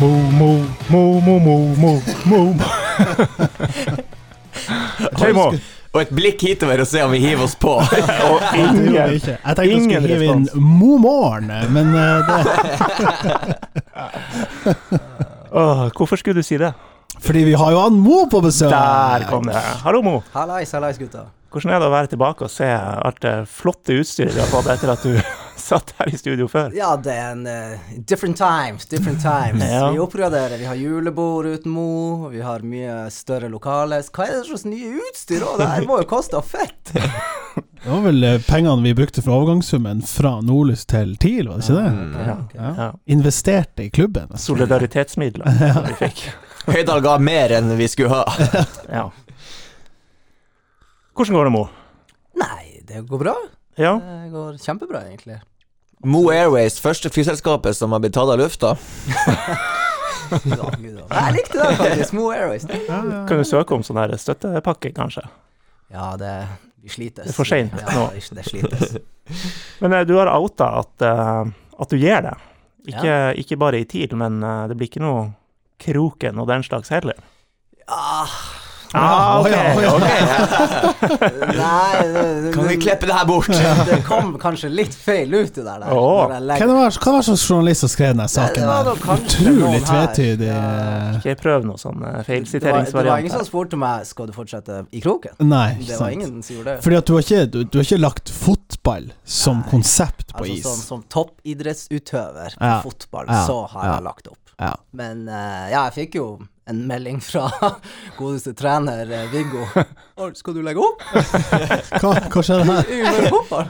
Mo, mo, mo, mo, mo, mo, mo. Hei, Mo. Og et blikk hitover og se om vi hiver oss på. Og Det gjorde jeg ingen ikke. Jeg tenkte jeg Ingen skulle hive inn respons. mormoren, men eh, det, Åh, Hvorfor skulle du si det? Fordi vi har jo han Mo på besøk! Der kom det. Hallo, Mo. Hallais, hallais, gutter. Hvordan er det å være tilbake og se alt det flotte utstyret du har fått etter at du satt her i studio før? Ja, det er en eh, different times, different times. Ja. Vi oppgraderer. Vi har julebord uten Mo, vi har mye større lokale. Hva er det slags nye utstyr òg? Det her må jo koste fett. Det var vel eh, pengene vi brukte fra overgangssummen fra Nordlys til TIL, var det ikke Mm. det? Ja. Ja. Ja. Investerte i klubben. Solidaritetsmidler som vi fikk. Høydal ga mer enn vi skulle ha. Ja. Hvordan går det, Mo? Nei, det går bra. Ja, Det går kjempebra, egentlig. Mo Airways, første flyselskapet som har blitt tatt av lufta. Gud, å, gud, å. Jeg likte den faktisk. Mo Airways. Ah, kan du søke om sånn her støttepakke, kanskje? Ja, det Vi slites. Det er for sent ja, nå. Det slites. Men eh, du har outa at, eh, at du gjør det. Ikke, ikke bare i TIL, men eh, det blir ikke noe Kroken og den slags heller. Ah, Ah, ok, ja, ja. ok. nei det- Kan vi det- klippe det her bort? Det kom kanskje litt feil ut i det der. Åh. når Hva jeg legger- var det som- hva var det som journalist som skrev denne saken? var der? da kanskje Utrolig noen her. tvetydig. eh, Ikke prøv noe sånn eh, Det var- Det var ingen feilsiteringsvariant. som her. spurte meg Skal du fortsette i kroken. Nei, ikke Det var sant. ingen som gjorde det. Fordi at du har ikke, du, du har ikke lagt fotball som Nei. konsept på Altså is. Som, som toppidrettsutøver på Ja. fotball, Ja. så har Ja. jeg lagt opp. Ja. Men eh, ja, jeg fikk jo en melding fra godeste trener eh, Viggo. «Å, Skal du legge opp? Hva, hva skjer her? Vi gjør fotball.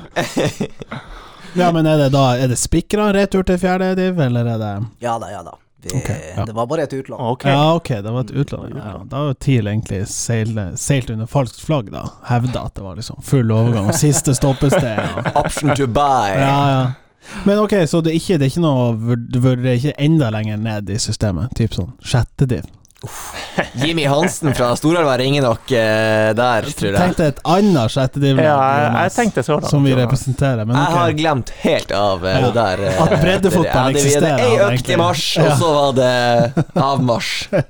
Ja, men er det da Er det spikra retur til fjerde div, eller er det Ja da, ja da. Vi, Ok, ja. Det var bare et utlån. Ok. Ja, ok, det var et utland. Ja, da har jo TIL egentlig seil, seilt under falskt flagg, da. Hevda at det var liksom full overgang og siste stoppested. Ja. Option to buy. Ja, ja. Men ok, så det er ikke, det er ikke noe vur- Du vurderer ikke enda lenger ned i systemet? Typ sånn sjette div? Jimmy Hansen fra Storelva ringer nok eh, der, tror jeg. Tenkte et annet sjette div Ja, jeg, jeg tenkte så langt. som vi ja. representerer, men Jeg har ok. glemt helt av eh, Ja. det der. eh, At breddefotball det- ja, det- vi hadde eksisterer, Ei økt han, egentlig. i mars, og Ja. så var det avmarsj.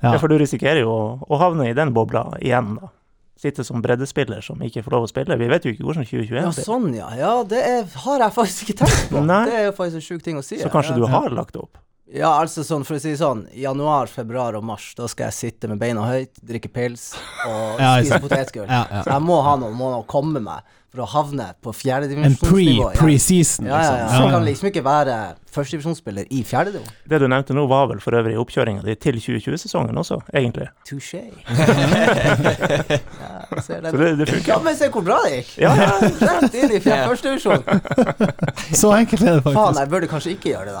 Ja. Ja, for du risikerer jo å, å havne i den bobla igjen, da. Sitte som breddespiller som ikke får lov å spille. Vi vet jo ikke hvordan 2021 Ja, blir. sånn, ja. Ja, det er, har jeg faktisk ikke tenkt på. Nei. Det er jo faktisk en sjuk ting å si. Så kanskje ja. du har lagt opp? Ja, altså sånn, for å si det sånn, januar, februar og mars, da skal jeg sitte med beina høyt, drikke pils og Ja, ikke spise sant. potetgull. Ja, ja. Så jeg må ha noen måneder å komme meg for å havne på En fjerdedivisjonsnivå. pre- pre-season, ja, ja, ja. Så jeg liksom. kan liksom ikke være førstedivisjonsspiller i fjerdedivisjon. Det du nevnte nå, var vel for øvrig oppkjøringa di til 2020-sesongen også, egentlig. Touché. ja, Så ser det. det, det Ja, funker. men se hvor bra det gikk! Ja, ja. Rett inn Ja. i fjerde førstedivisjon. Ja. Så enkelt er det Faen, faktisk. jeg sånn burde kanskje ikke gjøre det,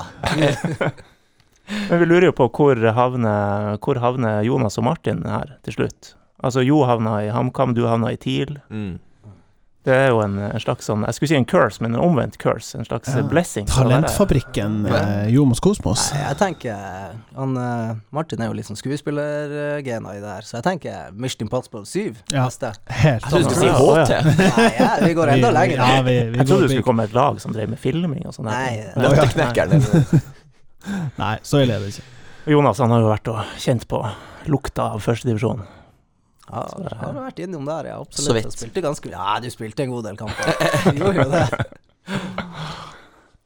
da. Men vi lurer jo på hvor havner, hvor havner Jonas og Martin her til slutt? Altså Jo havna i HamKam, du havna i TIL. Mm. Det er jo en, en slags sånn Jeg skulle si en curse, men en omvendt curse. En slags Ja. blessing. for å være- Talentfabrikken eh, Jomos Kosmos. Nei, jeg tenker han, eh, Martin er jo litt sånn skuespillergena i det her, så jeg tenker Mission Impossible 7. Ja. neste. Jeg Helt trodde du annet. skulle si HT. Nei, ja, vi går enda Vi- lenger. Ja, vi, vi Jeg trodde går du skulle big. komme med et lag som drev med filming og sånn. Nei, der. nei. Nøtteknekkeren. Nei, så ille er det ikke. Jonas han har jo vært og kjent på lukta av førstedivisjon. Ja, har du vært innom der, ja. Absolutt. Så vidt. Jeg Spilte ganske, ja, du spilte en god del kamper. Du gjorde jo det.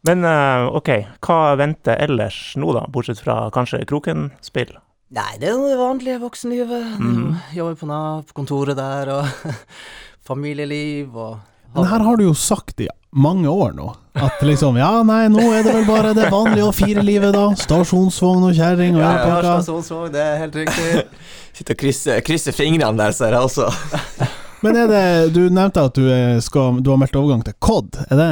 Men eh, OK, hva venter ellers nå, da? Bortsett fra kanskje Kroken-spill? Nei, det er jo det vanlige voksenlivet. Mm. Mhm. Jobber på Nav, på kontoret der, og familieliv og Men her har du jo sagt i mange år nå at liksom Ja, nei, nå er det vel bare det vanlige å fire livet, da. Stasjonsvogn og kjerring og ja, hele pakka. Stasjonsvogn, det er helt riktig. Sitter og krysser, krysser fingrene der, ser jeg altså. også. Men er det Du nevnte at du, eh, skal, du har meldt overgang til COD. Er, det,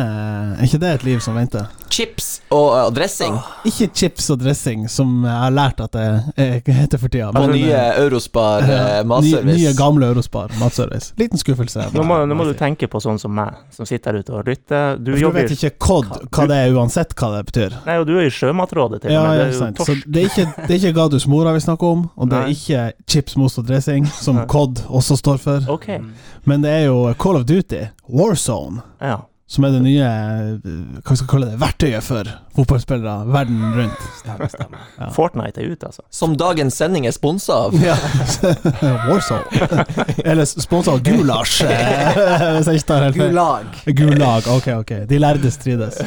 er ikke det et liv som venter? Chips og, og dressing. Ikke chips og dressing, som jeg har lært at det eh, heter for tida. På men, Altså, nye eh, Eurospar eh, nye, matservice. nye, gamle Eurospar matservice. Liten skuffelse. Nå må, nå må du tenke på sånn som meg, som sitter her ute og lytter. Du For du jobber vet ikke COD, hva det er, uansett hva det betyr. Nei, og du er i Sjømatrådet, til Ja, og med. ja, det er jo sant. Så torsk. det er ikke, det er ikke Gadus Mora vi snakker om, og det er Nei. ikke chips, mos og dressing, som Nei. Mm. COD også står for. Ok, Men det er jo Call of Duty, Warzone, ja. som er det nye eh, hva skal vi kalle det, verktøyet for fotballspillere verden rundt. Stemmer, stemmer. Ja. Fortnite er ute, altså. Som dagens sending er sponsa av. Ja. Warsaw. Eller sponsa av Gulasj, eh, hvis jeg ikke tar helt feil. Gulag. Gulag, ok, ok. De lærde strides.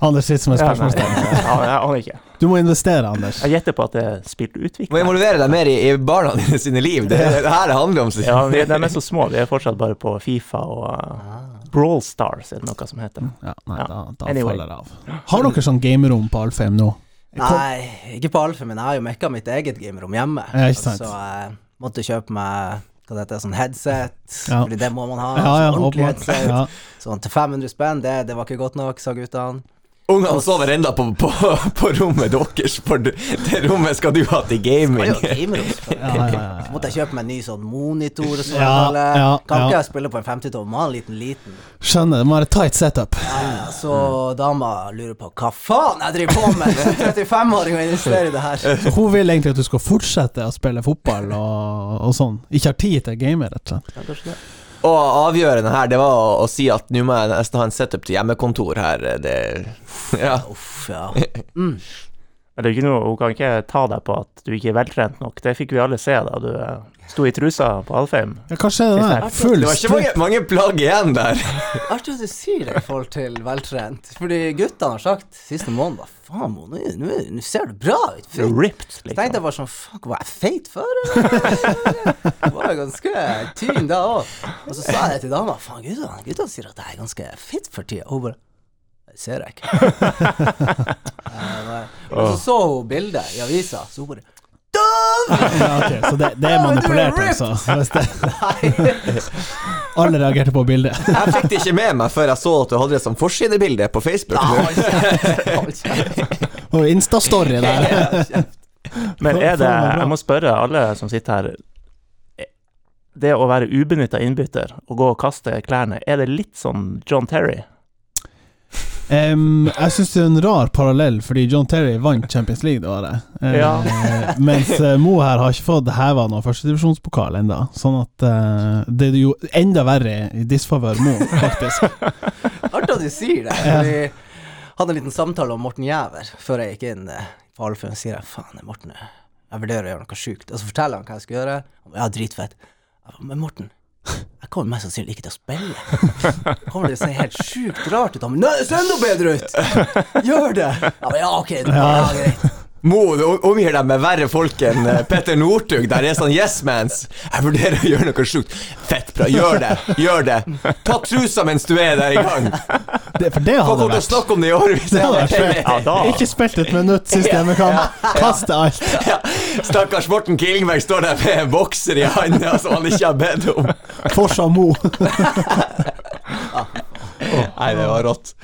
Anders sitter som et Ja, nei, spørsmålstegn. ja, jeg aner ikke. Du må investere, Anders. Jeg gjetter på at det er spilt Du må utvikling. involvere deg mer i, i barna dine sine liv. Det er det her det handler om. sier Ja, vi, de er så små. Vi er fortsatt bare på Fifa og uh, Ah. Brawl Stars, er det noe som heter. Ja, nei, Ja. da, da Anyway. faller jeg av. Har dere sånn gamerom på Alfheim nå? Kom- Nei, ikke på Alfa, men jeg har jo mekka mitt eget gamerom hjemme. Ja, ikke sant. Så jeg måtte kjøpe meg hva det heter, sånn headset, Ja. fordi det må man ha. Ja, ja, sånn ordentlig åpenbart. headset. Ja. Sånn til 500 spenn, det, det var ikke godt nok, sa guttene. Ungene sover enda på, på, på rommet deres, for det det rommet skal du ha til Det var gaming. jo gamerom. Ja, ja, ja, ja. Så måtte jeg kjøpe meg en ny sånn monitor og sånn. Ja, alle. ja, kan ja. ikke jeg spille på en 50-tom, en liten, liten. Skjønner, det må være tight setup. Ja, Så Mm. dama lurer på hva faen jeg driver på med! Som 35-åring og investerer i det her. Så hun vil egentlig at du skal fortsette å spille fotball og, og sånn. Ikke har tid til gamer, rett og slett. Ja, kanskje det. Og avgjørende her, det var å, å si at nå må jeg nesten ha en setup til hjemmekontor her. eh, Det, ja. Uff, ja. Men det er jo ikke noe, Hun kan ikke ta deg på at du ikke er veltrent nok. Det fikk vi alle se da du eh, sto i trusa på Alfheim. Ja, hva skjer det der? Full det var ikke strip. mange, mange plagg igjen der. Artig at du sier det i forhold til veltrent. Fordi guttene har sagt siste måned at faen, Mo, nå- nå nå ser du bra ut. Du er Fy- Ripped, Så tenkte liksom. jeg bare sånn Fuck, var jeg feit før? eller? Jeg var ganske tynn da òg. Og så sa jeg til dama Faen, guttene guttene sier at jeg er ganske fit for tida. Og hun bare Det ser jeg ikke. Eh, nei. Og så så hun bildet i avisa, så hun bare Ja, ok, så det, det er manipulert, altså. Hvis det, alle reagerte på bildet. Jeg fikk det ikke med meg før jeg så at du hadde det som forsidebilde på Facebook. Hold kjeft. Og Insta-story der. Men er det Jeg må spørre alle som sitter her. eh, Det å være ubenytta innbytter og gå og kaste klærne, er det litt sånn John Terry? Em, jeg syns det er en rar parallell, fordi John Terry vant Champions League det året. Eh, Ja. mens eh, Mo her har ikke fått heva noen førstedivisjonspokal ennå. Sånn at eh, det er jo enda verre i disfavør Mo, faktisk. Artig at du sier det. Vi hadde en liten samtale om Morten Jæver før jeg gikk inn eh, på Alfheim. Så sier jeg faen, det er Morten eh, jeg vurderer å gjøre noe sjukt. Og så forteller han hva jeg skal gjøre. Han ba, Ja, dritfett. Jeg ba, Men Morten, jeg kommer mest sannsynlig ikke til å spille. Kommer det til å se helt sjukt rart ut? Han ba, Nei, det ser enda bedre ut! Gjør det! Jeg ba, ja, ok, det ja, greit. Mo du omgir deg med verre folk enn eh, Petter Northug. Der er sånn yes mans. Jeg vurderer å gjøre noe sjukt. Fett bra, gjør det. Gjør det. Ta trusa mens du er der i gang. Det, for det Folk kommer til hadde å vært snakke om det i årevis. det hadde vært sjukt. Ja, da Ikke spilt et minutt sist hjemmekamp. Kaste alt. Ja, Stakkars Morten Kilingberg står der med en bokser i handa som han ikke har bedt om. Forsa Mo. Nei, det var rått.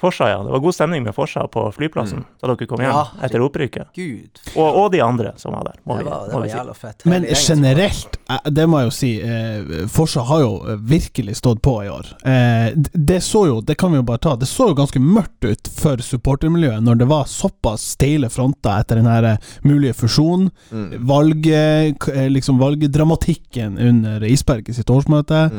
Forsa, ja. Det var god stemning med Forsa på flyplassen da dere kom hjem Mm. Ja. etter opprykket. Gud, det Og, og de andre som var der, må vi, var, det må var vi si. jævla fett. Men Hele gjengen. generelt, eh, det må jeg jo si, eh, Forsa har jo virkelig stått på i år. Eh, d- det så jo, det kan vi jo bare ta, det så jo ganske mørkt ut for supportermiljøet når det var såpass steile fronter etter den her eh, mulige fusjonen, valg, eh, k- eh, liksom valgdramatikken under Isberg i sitt årsmøte.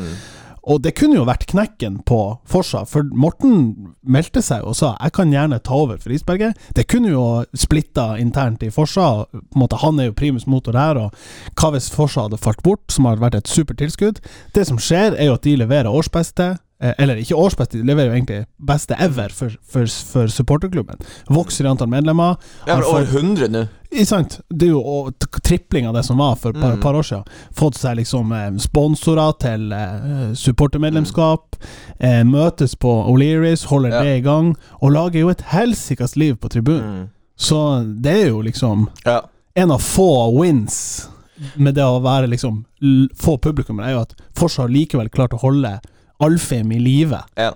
Og det kunne jo vært knekken på Forsa, for Morten meldte seg og sa 'jeg kan gjerne ta over for Isberget'. Det kunne jo splitta internt i Forsa. og På en måte, han er jo primus motor her, og hva hvis Forsa hadde falt bort, som hadde vært et supertilskudd? Det som skjer, er jo at de leverer årsbeste. eh, Eller ikke årsbeste, de leverer jo egentlig beste ever for, for, for supporterklubben. Vokser i antall medlemmer. Jeg Han er får- over 100 nå. ikke sant? Det er jo og t- tripling av det som var for et par, Mm. par år siden. Fått seg liksom eh, sponsorer til eh, supportermedlemskap. Eh, møtes på O'Learys, holder Ja. Mm. det i gang. Og lager jo et helsikas liv på tribunen. Så det er jo liksom Ja. en av få wins med det å være liksom l få publikummere, er jo at Forsa har likevel klart å holde Alfheim i live. Ja,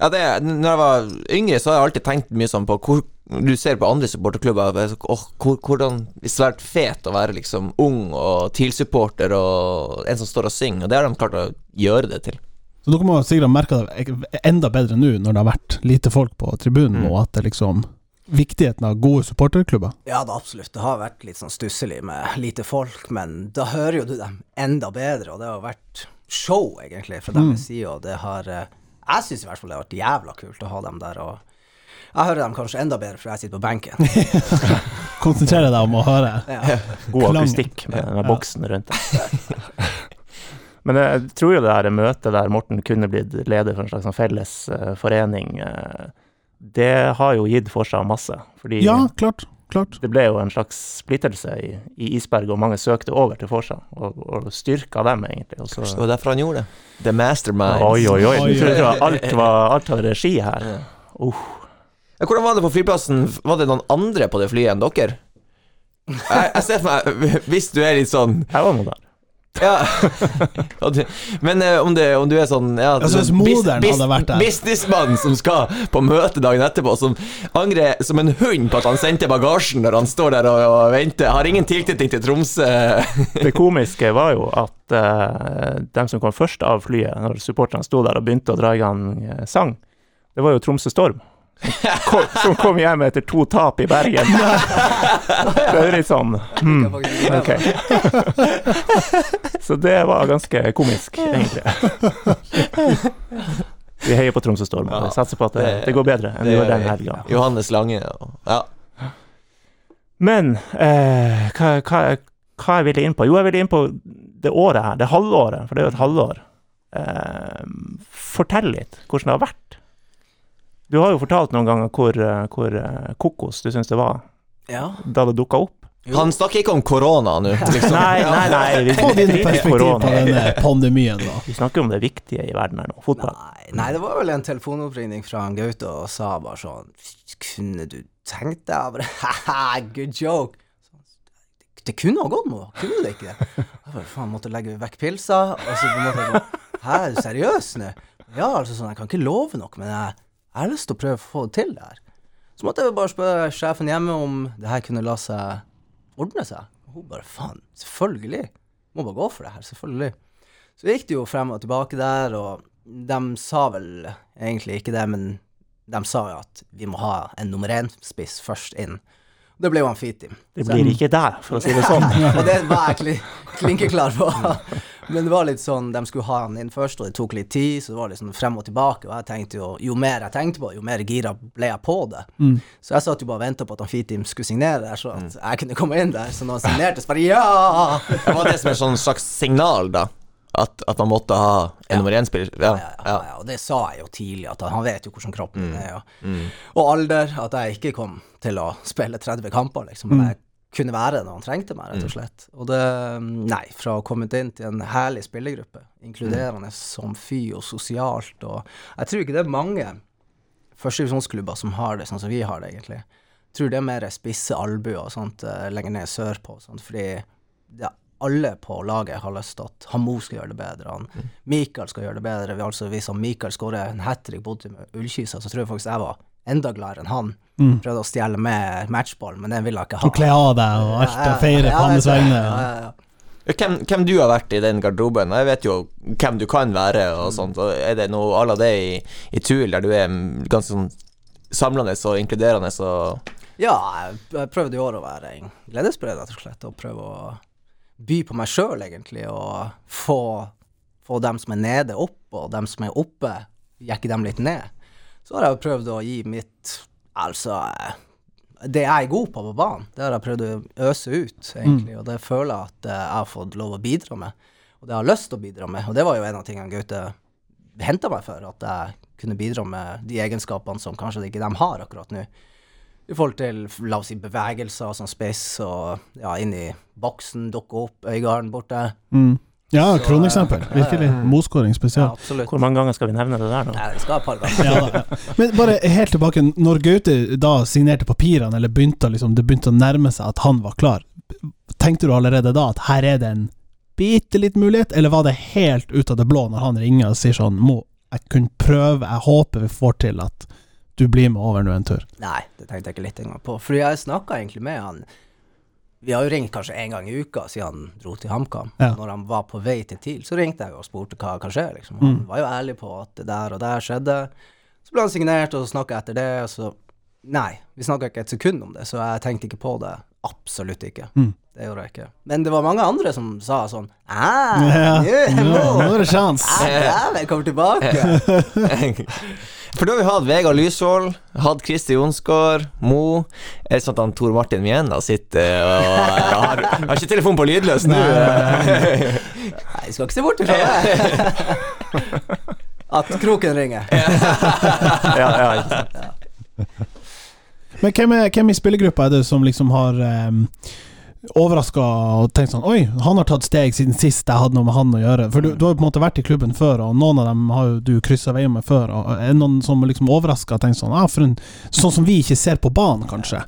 det, når jeg var yngre, så har jeg alltid tenkt mye sånn på hvor Du ser på andre supporterklubber det er så- åh, hvor, Hvordan det er svært fet å være liksom ung og TIL-supporter og en som står og synger, og det har de klart å gjøre det til. Så dere må sikkert ha merka det ek- enda bedre nå når det har vært lite folk på tribunen, og at det liksom Viktigheten av gode supporterklubber. Ja da, absolutt. Det har vært litt sånn stusselig med lite folk, men da hører jo du dem enda bedre, og det har vært show, egentlig, fra deres side, og det har eh, Jeg syns i hvert fall det har vært jævla kult å ha dem der, og jeg hører dem kanskje enda bedre, for jeg sitter på benken. Konsentrere deg om å høre. Ja. God Klang. akustikk med, med boksen rundt deg. Men jeg tror jo det her møtet der Morten kunne blitt leder for en slags sånn felles eh, forening, eh, det har jo gitt for seg masse. Fordi Ja, klart. Klart. det ble jo en slags splittelse i, i Isberg, og mange søkte over til Forsa, og, og styrka dem egentlig. Og så, Det var derfor han gjorde det. The mastermind. oi, oi, oi, Oi, du trodde det var- alt var, alt var regi her. Ja. Uh, Ja, Hvordan var det på flyplassen? Var det noen andre på det flyet enn dere? Jeg, jeg ser for meg Hvis du er litt sånn jeg var nå der. Ja. Og du- Men eh, om, det, om du er sånn ja, Altså, hvis sånn moderen bis- hadde vært der. Businessmann som skal på møte dagen etterpå, som angrer som en hund på at han sendte bagasjen når han står der og, og venter. Har ingen tilknytning til Tromsø. Det komiske var jo at eh, dem som kom først av flyet, når supporterne sto der og begynte å dra i gang eh, sang, det var jo Tromsø Storm. Som kom, som kom hjem etter to tap i Bergen. Det er jo litt sånn hmm, Ok. Så det var ganske komisk, egentlig. Vi heier på Tromsø Storm og vi satser på at det, det går bedre enn det gjorde den helga. Johannes Lange. og- Ja. Men eh, hva, hva, hva jeg ville inn på? Jo, jeg ville inn på det året her, det halvåret, for det er jo et halvår. Eh, fortell litt hvordan det har vært. Du har jo fortalt noen ganger hvor, eh, hvor eh, kokos du syns det var ja. da det dukka opp. Jo. Han snakker ikke om korona nå, liksom. Nei, nei, nei, vi Få dine driter i perspektiv på korona. denne pandemien, da. Vi snakker om det viktige i verden her nå, fotball. Nei, nei, det var vel en telefonoppringning fra han Gaute og sa bare sånn Kunne du tenkt deg Jeg bare, Haha, good joke. Så han, Det, det kunne ha gått med det, kunne det ikke? Jeg bare, faen, måtte legge vekk pilsa. Og så på en måte jeg bare, Hæ, er du seriøs nå? Ja, altså sånn, jeg kan ikke love noe, men jeg, jeg har lyst til å prøve å få det til det her. Så måtte jeg bare spørre sjefen hjemme om det her kunne la seg ordne seg. Og hun bare faen, selvfølgelig. Må bare gå for det her, selvfølgelig. Så gikk det jo frem og tilbake der, og de sa vel egentlig ikke det, men de sa jo at vi må ha en nummer én-spiss først inn. Og det ble jo han Fiti. Det blir ikke der, for å si det sånn. og det var jeg kli- klinkeklar på. Men det var litt sånn, de skulle ha han inn først, og det tok litt tid, så det var litt sånn frem og tilbake. Og jeg tenkte jo, jo mer jeg tenkte på det, jo mer gira ble jeg på det. Mm. Så jeg satt jo bare og venta på at han Fitim skulle signere der, så at jeg kunne komme inn der. Så når han signerte, så bare ja! Det var det som et sånn slags signal, da. At, at man måtte ha en nummer én-spiller. Ja, ja, ja, ja. ja, og det sa jeg jo tidlig, at han vet jo hvordan kroppen min er, og, og alder, at jeg ikke kom til å spille 30 kamper, liksom, men jeg kunne være det når han trengte meg, rett og slett. Og det, nei, fra å ha kommet inn til en herlig spillergruppe, inkluderende som fy og sosialt, og jeg tror ikke det er mange førstevisjonsklubber som har det sånn som vi har det, egentlig. Jeg tror det er mer spisse albuer og sånt eh, lenger ned sørpå, og sånt, fordi det, alle på laget har lyst til at Hamo skal gjøre det bedre, han Mm. Mikael skal gjøre det bedre. Vi, altså, hvis han Mikael skårer en hat trick borte med Ullkisa, så tror jeg faktisk jeg var enda gladere enn han. Prøvde å stjele med matchball, men den ville jeg ikke ha. Mm. Du kler av deg og alt og feirer på Ja, jeg hans vet det. vegne. Ja, ja, ja. Hvem, hvem du har vært i den garderoben? Jeg vet jo hvem du kan være Mm. og sånt. og Er det noe à la det i, i Tuil, der du er ganske sånn samlende og inkluderende og Ja, jeg- jeg prøvde i år å være en gledesspreder, rett og slett, og prøve å by på meg sjøl, egentlig, og få, få dem som er nede, opp, og dem som er oppe, jekke dem litt ned. Så har jeg jo prøvd å gi mitt Altså eh, Det jeg er god på på banen, det har jeg prøvd å øse ut, egentlig, og det føler jeg at eh, jeg har fått lov å bidra med, og det jeg har lyst til å bidra med, og det var jo en av tingene Gaute henta meg for, at jeg kunne bidra med de egenskapene som kanskje ikke de har akkurat nå i forhold til la oss si, bevegelser som spiss og ja, inn i boksen, dukke opp, Øygarden borte. Mm. Ja, Så, kroneksempel. eh, Virkelig. Moskåring Ja, spesielt. absolutt. Hvor mange ganger skal vi nevne det der nå? Nei, det skal et par ganger. Ja, da. Men bare helt tilbake, når Gaute da signerte papirene, eller begynte, å liksom, det begynte å nærme seg at han var klar, tenkte du allerede da at her er det en bitte liten mulighet, eller var det helt ut av det blå når han ringer og sier sånn Må jeg kunne prøve, jeg håper vi får til at du blir med over nå en tur? Nei, det tenkte jeg ikke litt engang på. Fordi jeg snakka egentlig med han Vi har jo ringt kanskje én gang i uka siden han dro til HamKam. Ja. Når han var på vei til TIL, så ringte jeg jo og spurte hva hva skjer, liksom. Han Mm. var jo ærlig på at det der og der skjedde. Så ble han signert, og så snakka jeg etter det, og så Nei, vi snakka ikke et sekund om det, så jeg tenkte ikke på det. Absolutt ikke. Mm. Det Det gjorde jeg ikke. Men det var mange andre som sa sånn Ja. Æh, Nå, nå er det sjans. Ah, Dæven, kommer tilbake! For da har vi hatt Vegard Lysvold, hatt Kristi Jonsgaard, Mo Er det sånn at han Tor Martin Mjena sitter og har, har ikke telefonen på lydløs nå? Nei, jeg skal ikke se bort ifra det. At kroken ringer. Ja, ja, ikke sant. Men hvem, er, hvem i spillergruppa er det som liksom har um, overraska og tenkt sånn Oi, han har tatt steg siden sist jeg hadde noe med han å gjøre. For du, du har jo på en måte vært i klubben før, og noen av dem har jo du kryssa veier med før. Og er det noen som er liksom overraska og tenkt sånn ah, for en, Sånn som vi ikke ser på banen, kanskje.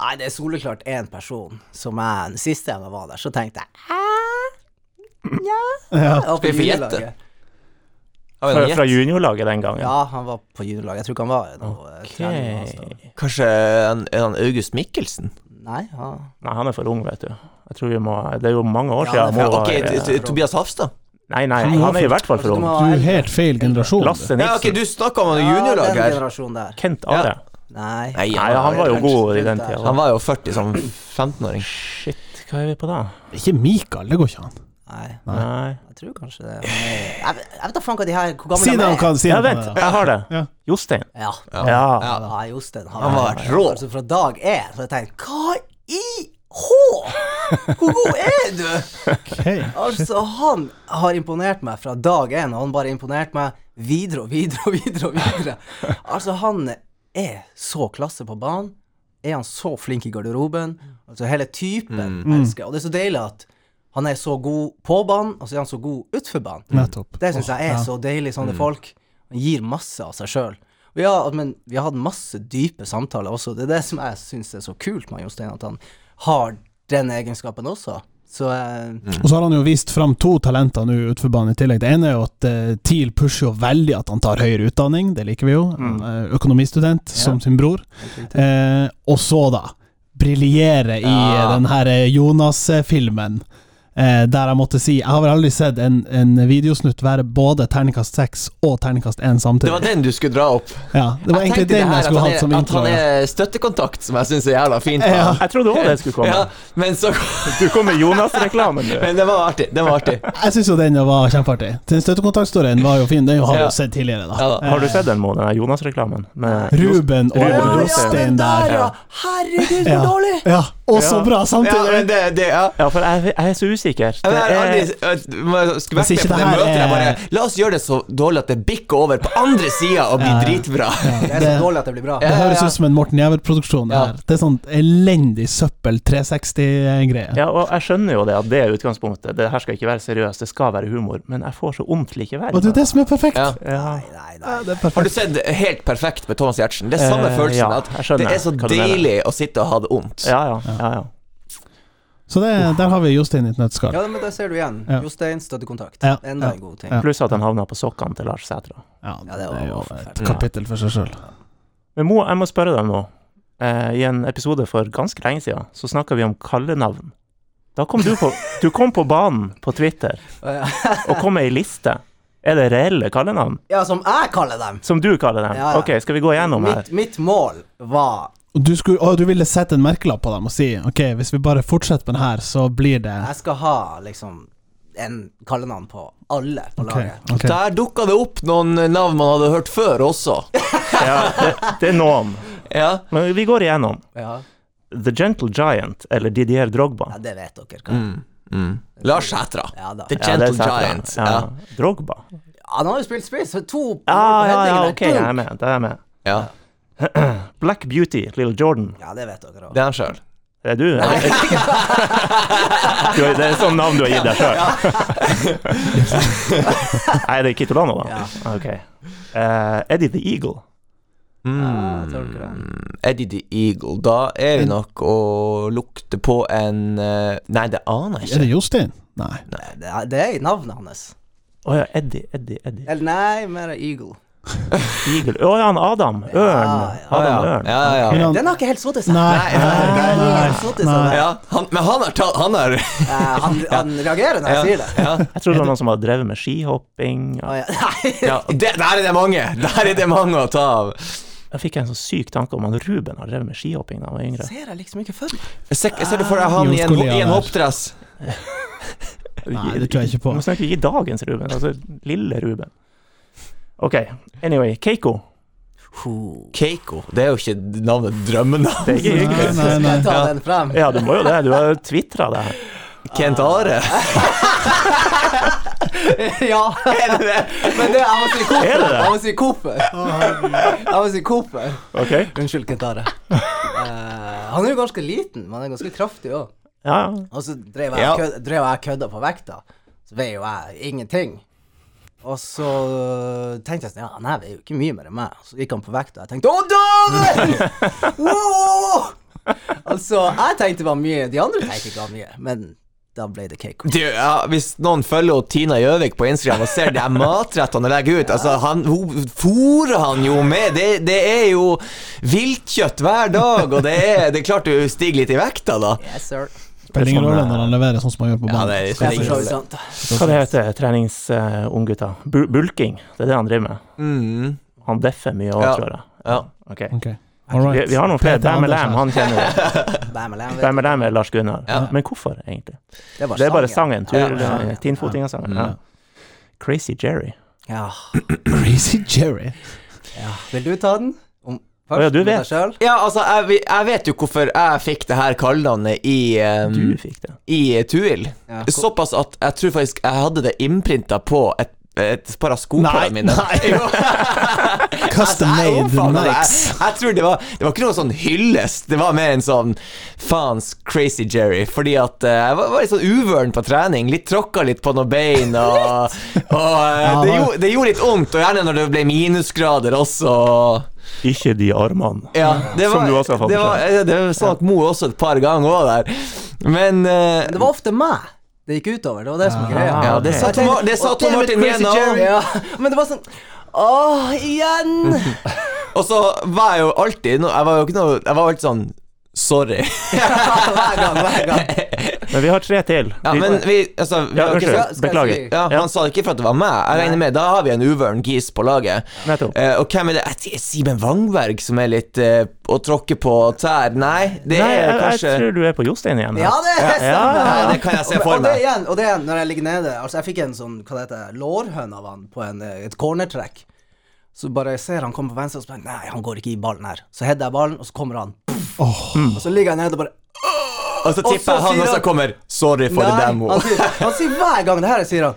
Nei, det er soleklart én person som jeg Sist jeg var der, så tenkte jeg Æh, Nja Ja. Jeg var på Vi får gjette. juniorlaget. Har vi Fra, noen fra gjett? juniorlaget den gangen. Ja, han var på juniorlaget. Jeg tror ikke han var noe eh, trening hans altså- da. Kanskje han, er han August Mikkelsen? Nei, han Nei, han er for ung, vet du. Jeg tror vi må Det er jo mange år siden. Ja, han Mo er for- var- Ok, t- t- Tobias Hafstad? Nei, nei, Han er han er i hvert fall for Du må ung. Du ha er eldre. helt feil generasjon. Lasse Ja, ok, Nilsen. du snakka om Ja, juniorlag den her. generasjonen der. Kent Are. Nei. Nei, Nei, han var jo god i den tida. Han var jo 40 som 15-åring. Shit, hva er vi på da? Ikke Mikael, det går ikke an. Nei. Nei Jeg tror kanskje det. Men jeg, jeg vet- jeg vet da faen hva de her Hvor gamle Si det de han kan, si det Ja, han vent, kan. jeg har det. Ja. Jostein. Ja. Ja. Ja. da. Ja, Jostein. Han, Han var rå. Altså, fra dag én så har jeg tenkt Hva i H? Hvor god er du? Ok. Altså, han har imponert meg fra dag én, og han bare imponerte meg videre og videre og videre. og videre. Altså, han er så klasse på banen. Er han så flink i garderoben? Altså, hele typen elsker jeg. Og det er så deilig at han er så god på banen, og så er han så god utenfor banen. Nettopp. Det syns jeg er ja. så deilig, sånne folk. Han gir masse av seg sjøl. Ja, men vi har hatt masse dype samtaler også. Det er det som jeg syns er så kult med Jostein, at han har den egenskapen også. Så eh, Og så har han jo vist fram to talenter nå utenfor banen i tillegg. Det ene er jo at eh, TIL pusher jo veldig at han tar høyere utdanning, det liker vi jo. Mm. Han er Økonomistudent, som sin bror. Eh, og så, da, briljere i ja. Ja. den her eh, Jonas-filmen. Eh, der jeg måtte si Jeg har vel aldri sett en, en videosnutt være både terningkast seks og terningkast én Det samtidig. var den du skulle dra opp. ja, eh, det var Jeg egentlig tenkte det den her jeg skulle at han hatt som er- intro. At ja. han er støttekontakt, som jeg syns er jævla fint. Ja. Jeg trodde òg det skulle komme. Ja, men så Du kom med Jonas-reklamen, du. Men det var artig. Det var artig. Jeg syns jo den var kjempeartig. Den støttekontaktstoryen var jo fin, den har vi Ja. jo sett tidligere, da. Ja, da. Har du sett den, Mo, den der Jonas-reklamen? Med- Ruben og Ruben og Jostein der. ja! Herregud, Ja. så dårlig! Ja, og så Ja. bra Ja, samtidig! men det, det ja. Ja, for jeg, jeg er så usikker. Jeg har aldri Det er, jeg må- jeg skulle vært med Hvis ikke på det det her møtet. Jeg bare er- La oss gjøre det så dårlig at det bikker over på andre sida og blir Ja, ja. dritbra. Det er så dårlig at det blir bra. det Ja, ja, høres ja. ut som en Morten Jæver-produksjon. Ja. her Det er sånn elendig søppel 360-greie. ja, og jeg skjønner jo det at det er utgangspunktet. Det her skal ikke være seriøst, det skal være humor. Men jeg får så vondt likevel. Og det er det som er perfekt! Ja. Ja. Nei, nei, Ja, nei. det er Har du perfekt. sett Helt perfekt med Thomas Giertsen? Det er samme Eh, følelsen. ja, jeg at skjønner det er så hva du mener. deilig å sitte og ha det vondt. Ja, ja. ja, ja. Så det, der har vi Jostein i et nøttskall. Ja, men der ser du igjen. Ja. Jostein, støttekontakt. Ja, Enda ja. en god ting. Ja. Pluss at han havna på sokkene til Lars Sætra. Ja, Ja, det det var er jo et forferdelig. kapittel for seg sjøl. Men Mo, jeg må spørre deg nå. Eh, I en episode for ganske lenge siden så snakka vi om kallenavn. Da kom du på, du kom på banen på Twitter og kom med ei liste. Er det reelle kallenavn? Ja, som jeg kaller dem. Som du kaller dem? Ja, ja. Ok, skal vi gå gjennom her? Mitt, mitt mål var Og du, skulle, å, du ville sette en merkelapp på dem og si ok, hvis vi bare fortsetter med den her, så blir det Jeg skal ha liksom en kallenavn på alle på Ok, laget. ok. Der dukka det opp noen navn man hadde hørt før også. Ja, det, det er noen. Ja. Men vi går igjennom. Ja. The Gentle Giant, eller Didier Drogba. ja, det vet dere hva. Mm. Lars Sætra. Ja da. The Ja, det er Gentle sant, ja. Giant. Ja. Ja. Drogba. Han har jo spilt spiss, så to på Ja, ja, ja, headingen ok, jeg er dunk. er med. Da er jeg med. Ja. Black Beauty, Little Jordan. Ja, det vet Det dere òg. er han sjøl. Er det du? du det er sånn navn du har gitt deg sjøl? Nei, det er Kitolano, da? Ok. Eh, Eddie the Eagle. Mm. Eddie the Eagle. Da er vi nok å lukte på en eh, Nei, det aner jeg Er ikke. det Jostein? Nei. Det, er- det er i navnet hans. Å ja, Eddie, Eddie, Eddie. Eller nei, mer Eagle. Eagle. Å ja, han Adam. Ja, Ørn. ja. Ah, Adam ja. Ørn. Ja, ja. Men ja. han- Den har ikke helt sittet seg. Nei, Den har ikke nei, helt sottet seg. ja. Han, men han har tatt Han har Eh, Han, han reagerer når jeg sier det. ja. Jeg trodde det var noen som hadde drevet med skihopping. Å, ja. Nei. Ja, og det, der er det mange! Der er det mange å ta av. Da fikk jeg en sånn syk tanke om at Ruben har drevet med skihopping da han var yngre. Ser jeg liksom ikke for meg. Jeg ser, jeg ser du for deg han i en, Jonskolea i en der. hoppdress. Nei, det tror jeg ikke på. Nå snakker vi ikke dagens Ruben, altså lille Ruben. OK, anyway. Keiko. Ho. Keiko. Det er jo ikke navnet drømmenavn. Det er ikke hyggelig. Nei, nei, Skal nei. jeg ta den frem? Ja, du må jo det. Du har jo tvitra det her. Kent Are. ja. Men det, jeg må Er si Cooper. det det? Jeg må si Cooper. Jeg må si Cooper. OK? Unnskyld, Kentare. Eh, han er jo ganske liten, men han er ganske kraftig òg. Ja, ja. Og så drev jeg, Ja. kød, drev jeg kødda på vekta. Så veier jo jeg ingenting. Og så tenkte jeg sånn Ja, han her veier jo ikke mye mer enn meg. Så gikk han på vekta, og jeg tenkte Å, dæven! Wow! Altså, jeg tenkte det var mye, de andre tenkte ikke det var mye, men da ble det cake. Du, ja, hvis noen følger opp Tina Gjøvik på Instagram og ser de her matrettene hun legger ut altså, han, Hun fôrer han jo med Det, det er jo viltkjøtt hver dag, og det er, det er klart du stiger litt i vekta, da. Yes, sir. Spiller ingen Det er rolle sånn, når eh, han leverer sånn som han gjør på Ja, banen. det er- Det er for så Ingen vidt sant. Hva det heter treningsunggutta? Bu bulking, det er det han driver med. Mm, Han deffer mye òg, Ja. tror jeg. ja. Ok. Ok. All Vi, right. vi har noen flere. Peter Bam Anders Lam, her. han kjenner vi. Bam, bam, bam. Bam Lam er Lars Gunnar. Ja. Men hvorfor, egentlig? Det var Det er bare sangen. sangen. eh, Ja, Tur- ja, ja. Tinnfotinga-sangen. Ja. Ja. Crazy Jerry. Ja. Crazy Jerry. ja. Vil du ta den? Om, Å, ja, du med deg vet. selv? ja, altså, jeg, vi- jeg vet jo hvorfor jeg fikk det her kallenavnet i, um, Du fikk det. i eh, Tuil. Ja, hvor- Såpass at jeg tror faktisk jeg hadde det innprinta på et, et par av skoene mine. Altså, Custom Jeg made omfavner det. altså, Nikes. Jeg, jeg tror det var Det var ikke noe sånn hyllest. Det var mer en sånn faens crazy Jerry. Fordi at eh, jeg var, var litt sånn uvøren på trening. Litt tråkka litt på noen bein. Og, og eh, Ja, det, det- gjorde, det gjorde litt vondt. Og gjerne når det ble minusgrader også. Ikke de armene. Ja, det var, Som du også har fått det var, eh, det var sånn at Mo også et par ganger òg der. Men eh, Men det var ofte meg det gikk utover. Det var det som var greia. Ah, Ja, det sa Jeg Tom- tenkte, det sa «Å, Tom damn it, Martin Crazy igjen, Jerry», Ja. Men det var sånn Åh, igjen! Og så var jeg jo alltid no- Jeg var jo ikke noe Jeg var alltid sånn Sorry. hver gang, hver gang. Men vi har tre til. Ja, Vi- men vi Altså, vi ja, har ikke unnskyld. skal- skal jeg Beklager. si- Ja, Han sa det ikke for at det var meg. Jeg regner med Da har vi en uvøren gis på laget. Nettopp. Eh, og hvem er det? Jeg sier Simen Wangberg, som er litt eh, å tråkke på tær? Nei, det Nei, er jeg, kanskje jeg tror du er på Jostein igjen. her. Ja, det er sant! ja, det kan jeg se Og- for Og det meg. igjen, og det igjen, når jeg ligger nede Altså, jeg fikk en sånn, hva det heter, lårhøne av han på en, eh, et cornertrekk. Så bare jeg ser han kommer på venstre, og så tenker jeg, nei, han går ikke i ballen her. Så header jeg ballen, og så kommer han. Og så ligger jeg nede og bare Og så Og tipper så jeg han sier også han- kommer. Sorry for the demo. Han sier, han sier hver gang det her, sier han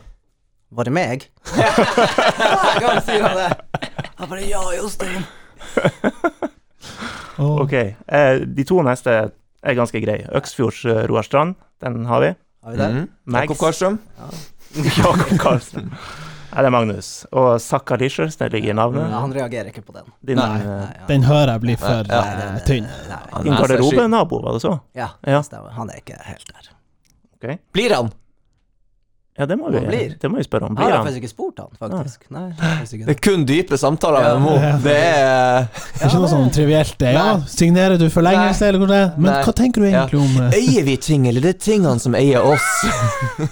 Var det meg? hver gang sier han det. Han bare Ja, Jostein. Åh. Ok. Eh, de to neste er ganske greie. Øksfjords eh, Roar Strand, den har vi. Har vi det? Mhm. Mags. Jakob Karstrøm. Jakob Karlsen. Nei, det er Magnus. Og Sakkarishers, det ligger i Ja, navnet. han reagerer ikke på den. Din, Nei. eh, ja. Den hører jeg blir for Ja, eh, det- det- tynn. Nei. Han din er så sjuk. garderobenabo, var det så? Ja, Ja. det stemmer. Han er ikke helt der. Blir han? Ja, det må Han vi, blir. det må vi spørre om. Har Blir jeg han? faktisk ikke spurt han, faktisk? Nei, jeg har faktisk Det ikke det. er kun dype samtaler med Mo. Ja. Det er Det er ikke noe sånn trivielt det. Ja, Nei. signerer du forlengelse, eller hvor det er? Men Nei. hva tenker du egentlig om eh, Eier vi ting, eller det er tingene som eier oss?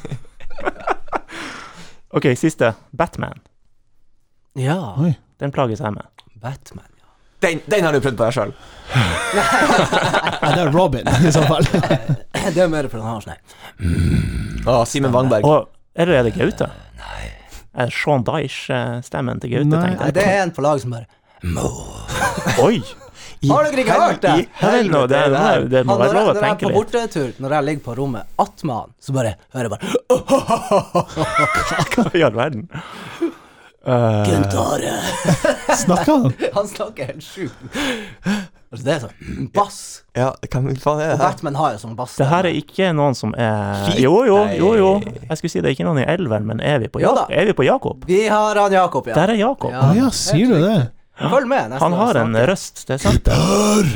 Ok, siste. Batman. Ja, Oi. Den plages jeg med. Batman. ja. Den, den har du prøvd på deg sjøl. Nei, det er Robin, i så fall. Det er mer på den sånn her, nei. Å, Simen Wangberg. Og eller er det Gaute? Er det Sean Dyche-stemmen til Gaute, Nei. tenkte nei. jeg. Det er en på laget som bare Oi! Har dere ikke hørt det? Ja vel, nå, det, det, det, det må Han, når være jeg, lov å når jeg er tenke på litt. bortetur, når jeg ligger på rommet attmed han, så bare hører jeg bare Hva i all verden? Eh, Guntare. Snakker han? Han snakker helt sjukt. Altså, det er sånn bass. Ja, hvem faen er Og det her? Batman har jo sånn bass. det her er ikke noen som er Jo, jo, jo, jo. Jeg skulle si det er ikke noen i elveren, men er vi på, Jo ja, da. er vi på Jakob? Vi har han Jakob, ja. Der er Jakob. Å ja, sier du det? Følg med. neste Han gang har en snart. røst, det er sant.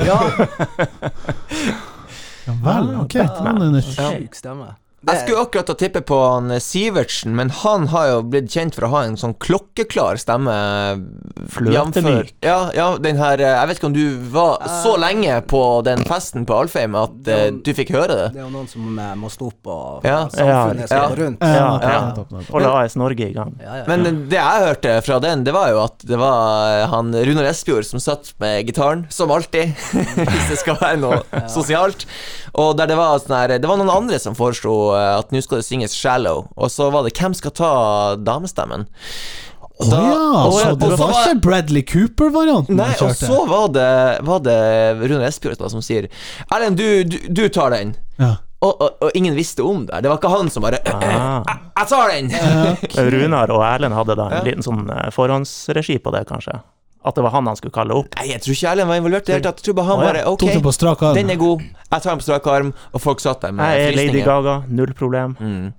Ja, Ja vel, ok. Batman. Ja, det er nytt. sjuk stemme. Jeg skulle akkurat å tippe på han eh, Sivertsen, men han har jo blitt kjent for å ha en sånn klokkeklar stemme. eh, Fløtemyk. jamfør- Ja, ja, den her eh, Jeg vet ikke om du var så lenge på den festen på Alfheim at eh, du fikk høre det. Det er jo noen som eh, må stå opp, og Ja, samfunnet skal ja. gå rundt. Ja, nettopp, ja. nettopp, nettopp. Og la AS Norge i gang. Ja, ja. Men det jeg hørte fra den, det var jo at det var eh, han Runar Espejord som satt med gitaren, som alltid, hvis det skal være noe sosialt. Og der det var sånn her Det var noen andre som foreslo eh, at nå skal det synges 'Shallow', og så var det 'Hvem skal ta damestemmen'? Å ja, og- så og- det og så var ikke Bradley Cooper-varianten Nei, og så var det, var det Runar Espejord som sier 'Erlend, du, du, du tar den'. Ja. Og, og, og ingen visste om det. Det var ikke han som bare Ah. 'Jeg tar den'! Men Runar og Erlend hadde da en Ja. liten sånn eh, forhåndsregi på det, kanskje. At det var han han skulle kalle opp. Nei, jeg tror ikke Erlend var involvert i det hele tatt. Jeg tror bare han Å, ja. bare Tok det OK. på strak arm. Den er god. Jeg tar den på strak arm, og folk satt der med Jeg er Eh, Lady frysninger. Gaga, null problem. Mm.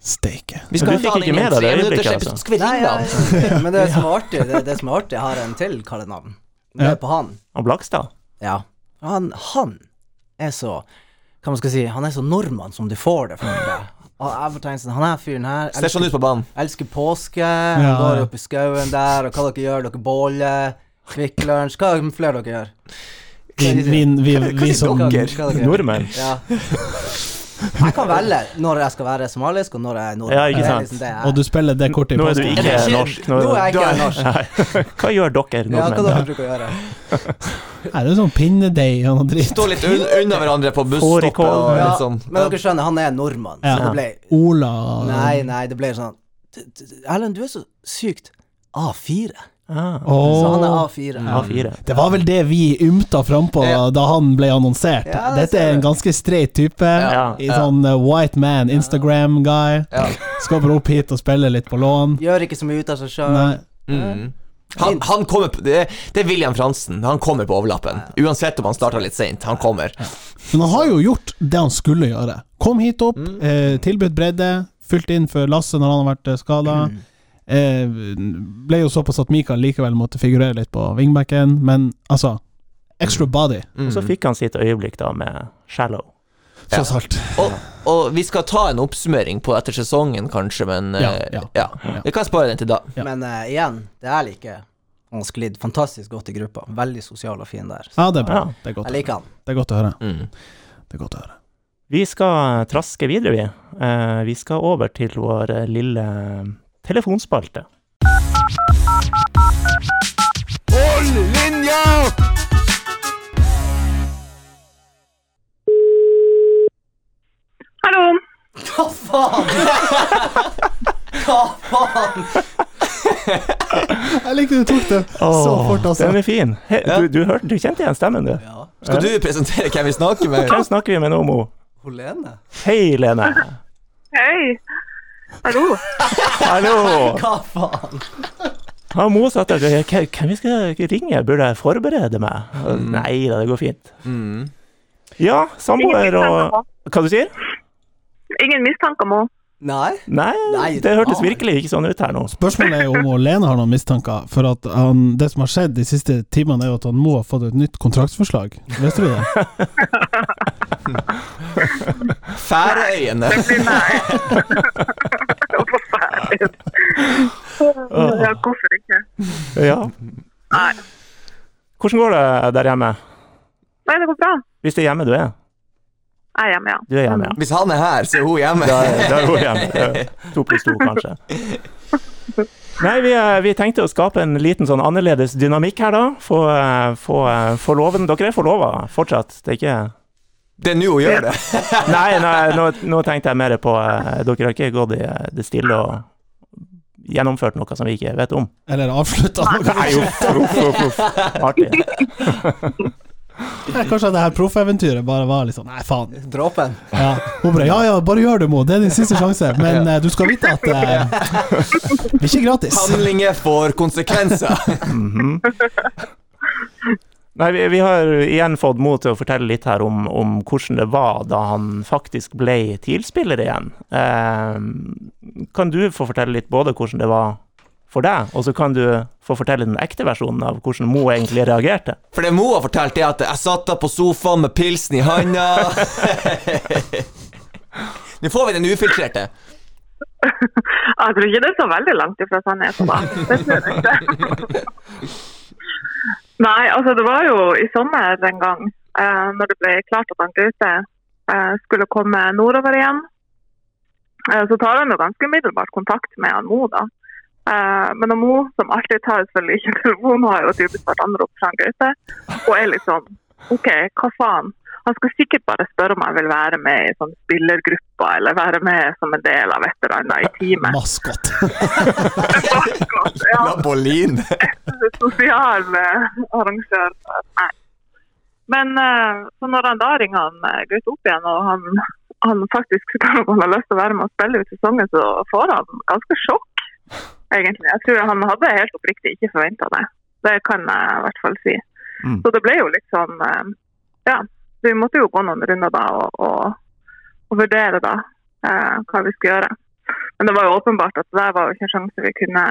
Steike. Vi Men du fikk ta den ikke inn i med deg tre det minutter, øyeblikket, så altså. Skal vi Nei, ringe ja, han? ja. Men det som er artig, det, det som er artig, jeg har en til kallenavn. Det Ja. er på han. Og Blakstad. Ja. Han, han er så Hva man skal si Han er så nordmann som du får det. for det. Og jeg bare tenker sånn Han her fyren her Ser sånn ut på banen. elsker påske. Han ja. Går opp i skauen der, og hva dere gjør? Dere båler. Kvikk Lunsj. Hva flere dere gjør? Vi, vi, vi, vi som Hva- hva dere gjør? Nordmenn. Ja. Jeg kan velge når jeg skal være somalisk, og når jeg er nordmann. Ja, ikke Det er sant. liksom det jeg er. Og du spiller det kortet i Nå er du posten. ikke norsk. Nå er jeg ikke norsk. Nei. Hva gjør dere Ja, hva dere nordmenn? bruker å gjøre? Nei, det er sånn pinnedeig og noe dritt. Stå litt un unna hverandre på Fårikål. busstoppet og Ja, litt sånn. Men dere skjønner, han er nordmann, så Ja. det ble Ola Nei, nei, det ble sånn "D- d- d- Erlend, du er så sykt A4. Ah, Så han er Åh. A4. A4. Det var vel det vi ymta frampå Ja. da han ble annonsert. Ja, det Dette er ser en du. ganske streit type. Ja. I sånn uh, white man, Instagram-guy. Ja. Skal bare opp hit og spille litt på lån. Gjør ikke så mye ut av seg sjøl. Nei. Mm. Han, han kommer på, det, det er William Fransen. Han kommer på overlappen. Uansett om han starter litt seint. Han kommer. Men han har jo gjort det han skulle gjøre. Kom hit opp, Mm. eh, tilbudt bredde, fylt inn for Lasse når han har vært skada. Mm. Eh, ble jo såpass at Mikael likevel måtte figurere litt på wingbacken, men altså Extra body, Mm. Og så fikk han sitt øyeblikk da med Shallow. tross alt. Og, og vi skal ta en oppsummering på etter sesongen, kanskje, men Ja, eh, ja. Ja. Vi kan spare den til da. Ja. Men eh, igjen, det er like Han sklidd fantastisk godt i gruppa. Veldig sosial og fin der. Ja, det er bra. Ja. Det er godt, Jeg liker han. det er godt å høre. Mm. Det er godt å høre. Vi skal traske videre, vi. Eh, Vi skal over til vår eh, lille telefonspalte. Hold linja! Hallo. Hva faen?! Hva faen?! Jeg liker du tok det så Åh, fort, altså. Den er fin. He, du, du, hørte, du kjente igjen stemmen, du. Ja. Skal du presentere hvem vi snakker med? Hvem snakker vi med nå, Mo? Hun Lene? Hei, Lene. Hei. Hallo. Hallo. Hva faen? Har Mo sagt at «K- hvem vi skal ringe? Burde jeg forberede meg? Mm. Nei da, det går fint. Mm. Ja, samboer og Ingen mistanker om- Hva du sier Ingen mistanker om henne. Nei? Nei, Nei, det hørtes nei. virkelig ikke sånn ut her nå. Spørsmålet er jo om Lene har noen mistanker. For at han, det som har skjedd de siste timene, er jo at han må ha fått et nytt kontraktsforslag. Visste du det? Færøyene. Hun var ferdig. Ja, hvorfor ikke? Ja. Nei. Hvordan går det der hjemme? Nei, det går bra. Hvis det er hjemme du er? Jeg er hjemme, ja. Du er hjemme, ja. Hvis han er her, så er hun hjemme. Da er, da er hun hjemme. Det er To pluss to, kanskje. Nei, vi, eh, vi tenkte å skape en liten sånn annerledes dynamikk her, da. Få, eh, få, eh, få loven Dere er forlova fortsatt, det er ikke Det er nå hun gjør det. Nei, nei nå, nå tenkte jeg mer på eh, Dere har ikke gått i eh, det stille og gjennomført noe som vi ikke vet om? Eller avslutta noe? Nei, uff, uff, uff, uff. Artig. Kanskje det her proffeventyret bare var litt sånn Nei, faen. Dråpen? Ja. Hun bare Ja ja, bare gjør det, Mo. Det er din siste sjanse. Men eh, du skal vite at eh, det er ikke gratis. Handlinger får konsekvenser. Nei, vi, vi har igjen fått mot til å fortelle litt her om, om hvordan det var da han faktisk ble TIL-spiller igjen. Eh, kan du få fortelle litt både hvordan det var for deg, og så kan du få fortelle den ekte versjonen av hvordan Mo egentlig reagerte. For det Mo har fortalt, er at jeg satt da på sofaen med pilsen i handa. Nå får vi den ufiltrerte! Jeg tror ikke det er så veldig langt ifra sannheten, da. Det tror jeg ikke. Nei, altså det var jo i sommer en gang, eh, når det ble klart at han Gaute eh, skulle komme nordover igjen, eh, så tar han jo ganske umiddelbart kontakt med han Mo, da. Eh, men han Mo, som alltid tar selvfølgelig ikke telefonen, har jo typisk vært anrop fra han Gaute, og er litt sånn OK, hva faen? Han skal sikkert bare spørre om han vil være med i sånn spillergruppa, eller være med som en del av et eller annet i teamet. Maskot. Akkurat, ja. Napolin! Sosial eh, arrangør. Nei. Men eh, så når han da ringer han eh, Gaute opp igjen, og han, han faktisk spør om han har lyst til å være med og spille ut sesongen, så får han ganske sjokk, egentlig. Jeg tror han hadde helt oppriktig ikke forventa det. Det kan jeg i hvert fall si. Mm. Så det ble jo litt sånn eh, Ja, vi måtte jo gå noen runder da og, og, og vurdere da eh, hva vi skulle gjøre. Men det var jo åpenbart at det der var jo ikke en sjanse vi kunne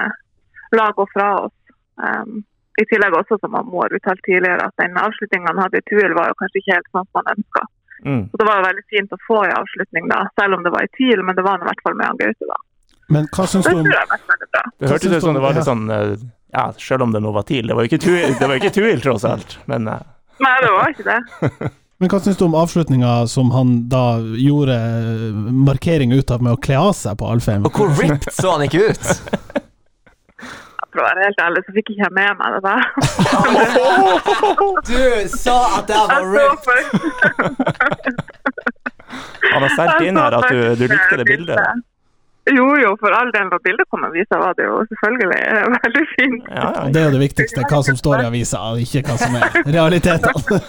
la gå fra oss. Em, Ehm, I tillegg også, som Mo har uttalt tidligere, at den avslutningen han hadde i TUIL var jo kanskje ikke helt sånn som han ønska. Mm. Så det var jo veldig fint å få en avslutning da, selv om det var i TIL, men det var han i hvert fall med han Gaute da. Men hva syns Det du om tror jeg var veldig bra. Det Hva hørtes syns ut som du det om- var litt sånn eh, Ja, selv om det nå var TIL. Det var jo ikke tuil, det var ikke tuil tross alt. Men eh, Nei, det var ikke det. Men hva syns du om avslutninga som han da gjorde eh, markering ut av med å kle av seg på Alfheim? Og hvor ripped så han ikke ut! For å være helt ærlig, så fikk ikke jeg med meg det der. Du sa at jeg var Jeg så ripped! først han har solgt inn her at du, du likte det bildet. Jo, jo, for all del. Når bildet kom og viste, var det jo selvfølgelig eh, veldig fint. Ja, Det ja. er jo det viktigste, hva som står i avisa, og ikke hva som er realitetene.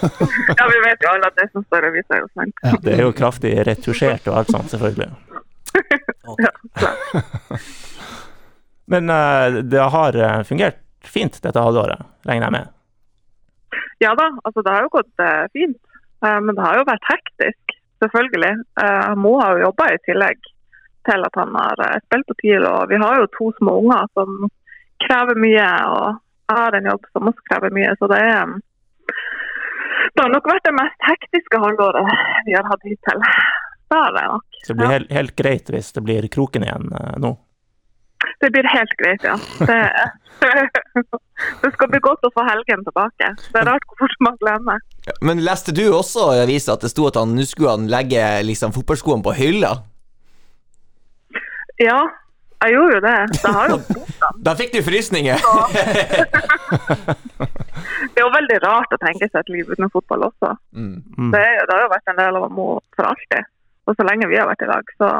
Ja, vi vet jo alle at det som står i avisa, er jo sant. Ja. Det er jo kraftig retusjert og alt sånt, selvfølgelig. Men eh, det har eh, fungert fint dette halvåret, regner jeg med. Ja da, altså det har jo gått eh, fint. Eh, men det har jo vært hektisk, selvfølgelig. Eh, Mo har jo jobba i tillegg til at han har eh, spilt på TIL. Og vi har jo to små unger som krever mye, og jeg har en jobb som også krever mye. Så det er eh, Det har nok vært det mest hektiske halvåret vi har hatt hittil. Det har det nok. Så det blir Ja. helt, helt greit hvis det blir kroken igjen eh, nå. Det blir helt greit, ja. Det, det skal bli godt å få helgen tilbake. Det er rart hvor fort man glemmer. Men leste du også i avisa at det sto at han nå skulle han legge liksom fotballskoene på hylla? Ja, jeg gjorde jo det. Det har jo fotene. Da fikk du frysninger! Det er jo veldig rart å tenke seg et liv uten fotball også. Mm. Mm. Det, er jo- det har jo vært en del av Mo for alltid. Og så lenge vi har vært i lag, så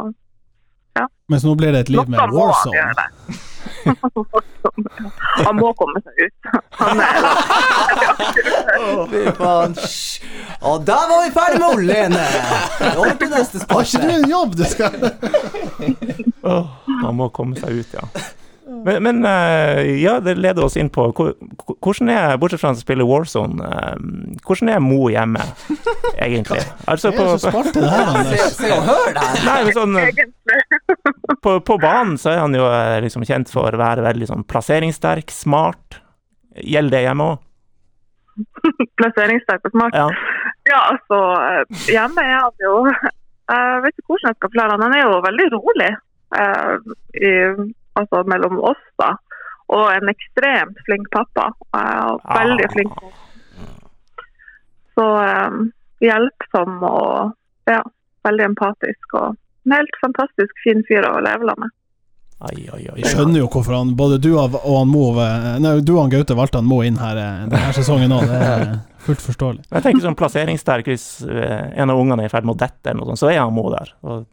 Mens nå blir det et liv noe med må han Warzone. gjøre. Han må komme seg ut. Han er Fy faen. Hysj. Og da var vi ferdig med Olene. Over til neste Har ikke du spørsmål. en jobb du skal Åh, man må komme seg ut, ja. Men, men eh, ja, det leder oss inn på hvor- hvor- hvordan er, bortsett fra å spille Warzone, eh, hvordan er Mo hjemme, egentlig? Altså Hva er det som på, sparte det her, Se, Anders? se og hør det her. nei, men sånn, eh, egentlig på, på banen så er han jo eh, liksom kjent for å være veldig sånn plasseringssterk, smart. Gjelder det hjemme òg? plasseringssterk og smart. Ja. Ja, altså, eh, hjemme er han jo Jeg vet ikke hvordan jeg skal forklare han. Han er jo veldig rolig eh, i, altså mellom oss, da. Og en ekstremt flink pappa. eh, og veldig Ah. flink. Så eh, hjelpsom og ja, veldig empatisk. Og en helt fantastisk fin fyr å leve sammen med. Ai, ai, ai. Vi skjønner jo hvorfor han, både du og han Mo eh, Nei, du og han Gaute valgte han Mo inn her eh, denne sesongen òg. Det er fullt forståelig. Jeg tenker sånn plasseringssterk hvis eh, en av ungene er i ferd med å dette, eller noe sånt, så er han Mo der. Og,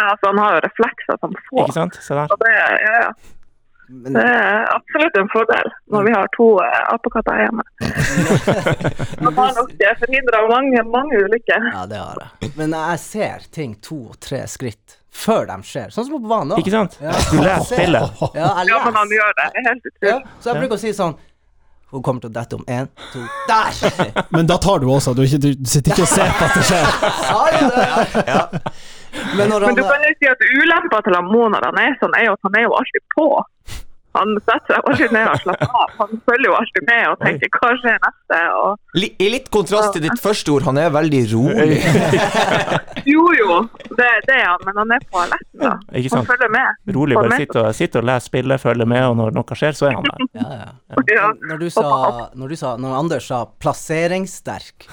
Altså, han har jo reflekser som få. ikke sant? Se der. Og det, er- ja, ja, Men det er absolutt en fordel når vi har to eh, apekatter hjemme. men Han har nok eh, forhindret mange, mange ulykker. Ja, det har jeg. Men jeg ser ting to og tre skritt før de skjer. Sånn som på banen Ikke òg. sant? Ja. Du leser spillet. Ja, jeg Ja, men han leser. gjør det. Det er Helt utrolig. Ja, så jeg bruker å si sånn Hun kommer til å dette om én, to Der! Men da tar du også, du, er ikke, du sitter ikke og ser på at det skjer. Sa jeg det? Men når Men han du kan jo si at ulempa til han Mo når han er sånn, er jo at han er jo alltid på. Han setter seg aldri ned og slapper av. Han følger jo alltid med og tenker hva skjer neste. Og Li- I litt kontrast til ditt første ord, han er veldig rolig. jo, jo, det, det er han, men han er på alerten, da. Ikke Han sant? følger med. Rolig, Han bare er- sitte og, sitte og lese spillet, følge med, og når noe skjer, så er han der. Ja, ja. Ja. Men Når du sa, når du sa Når Anders sa 'plasseringssterk',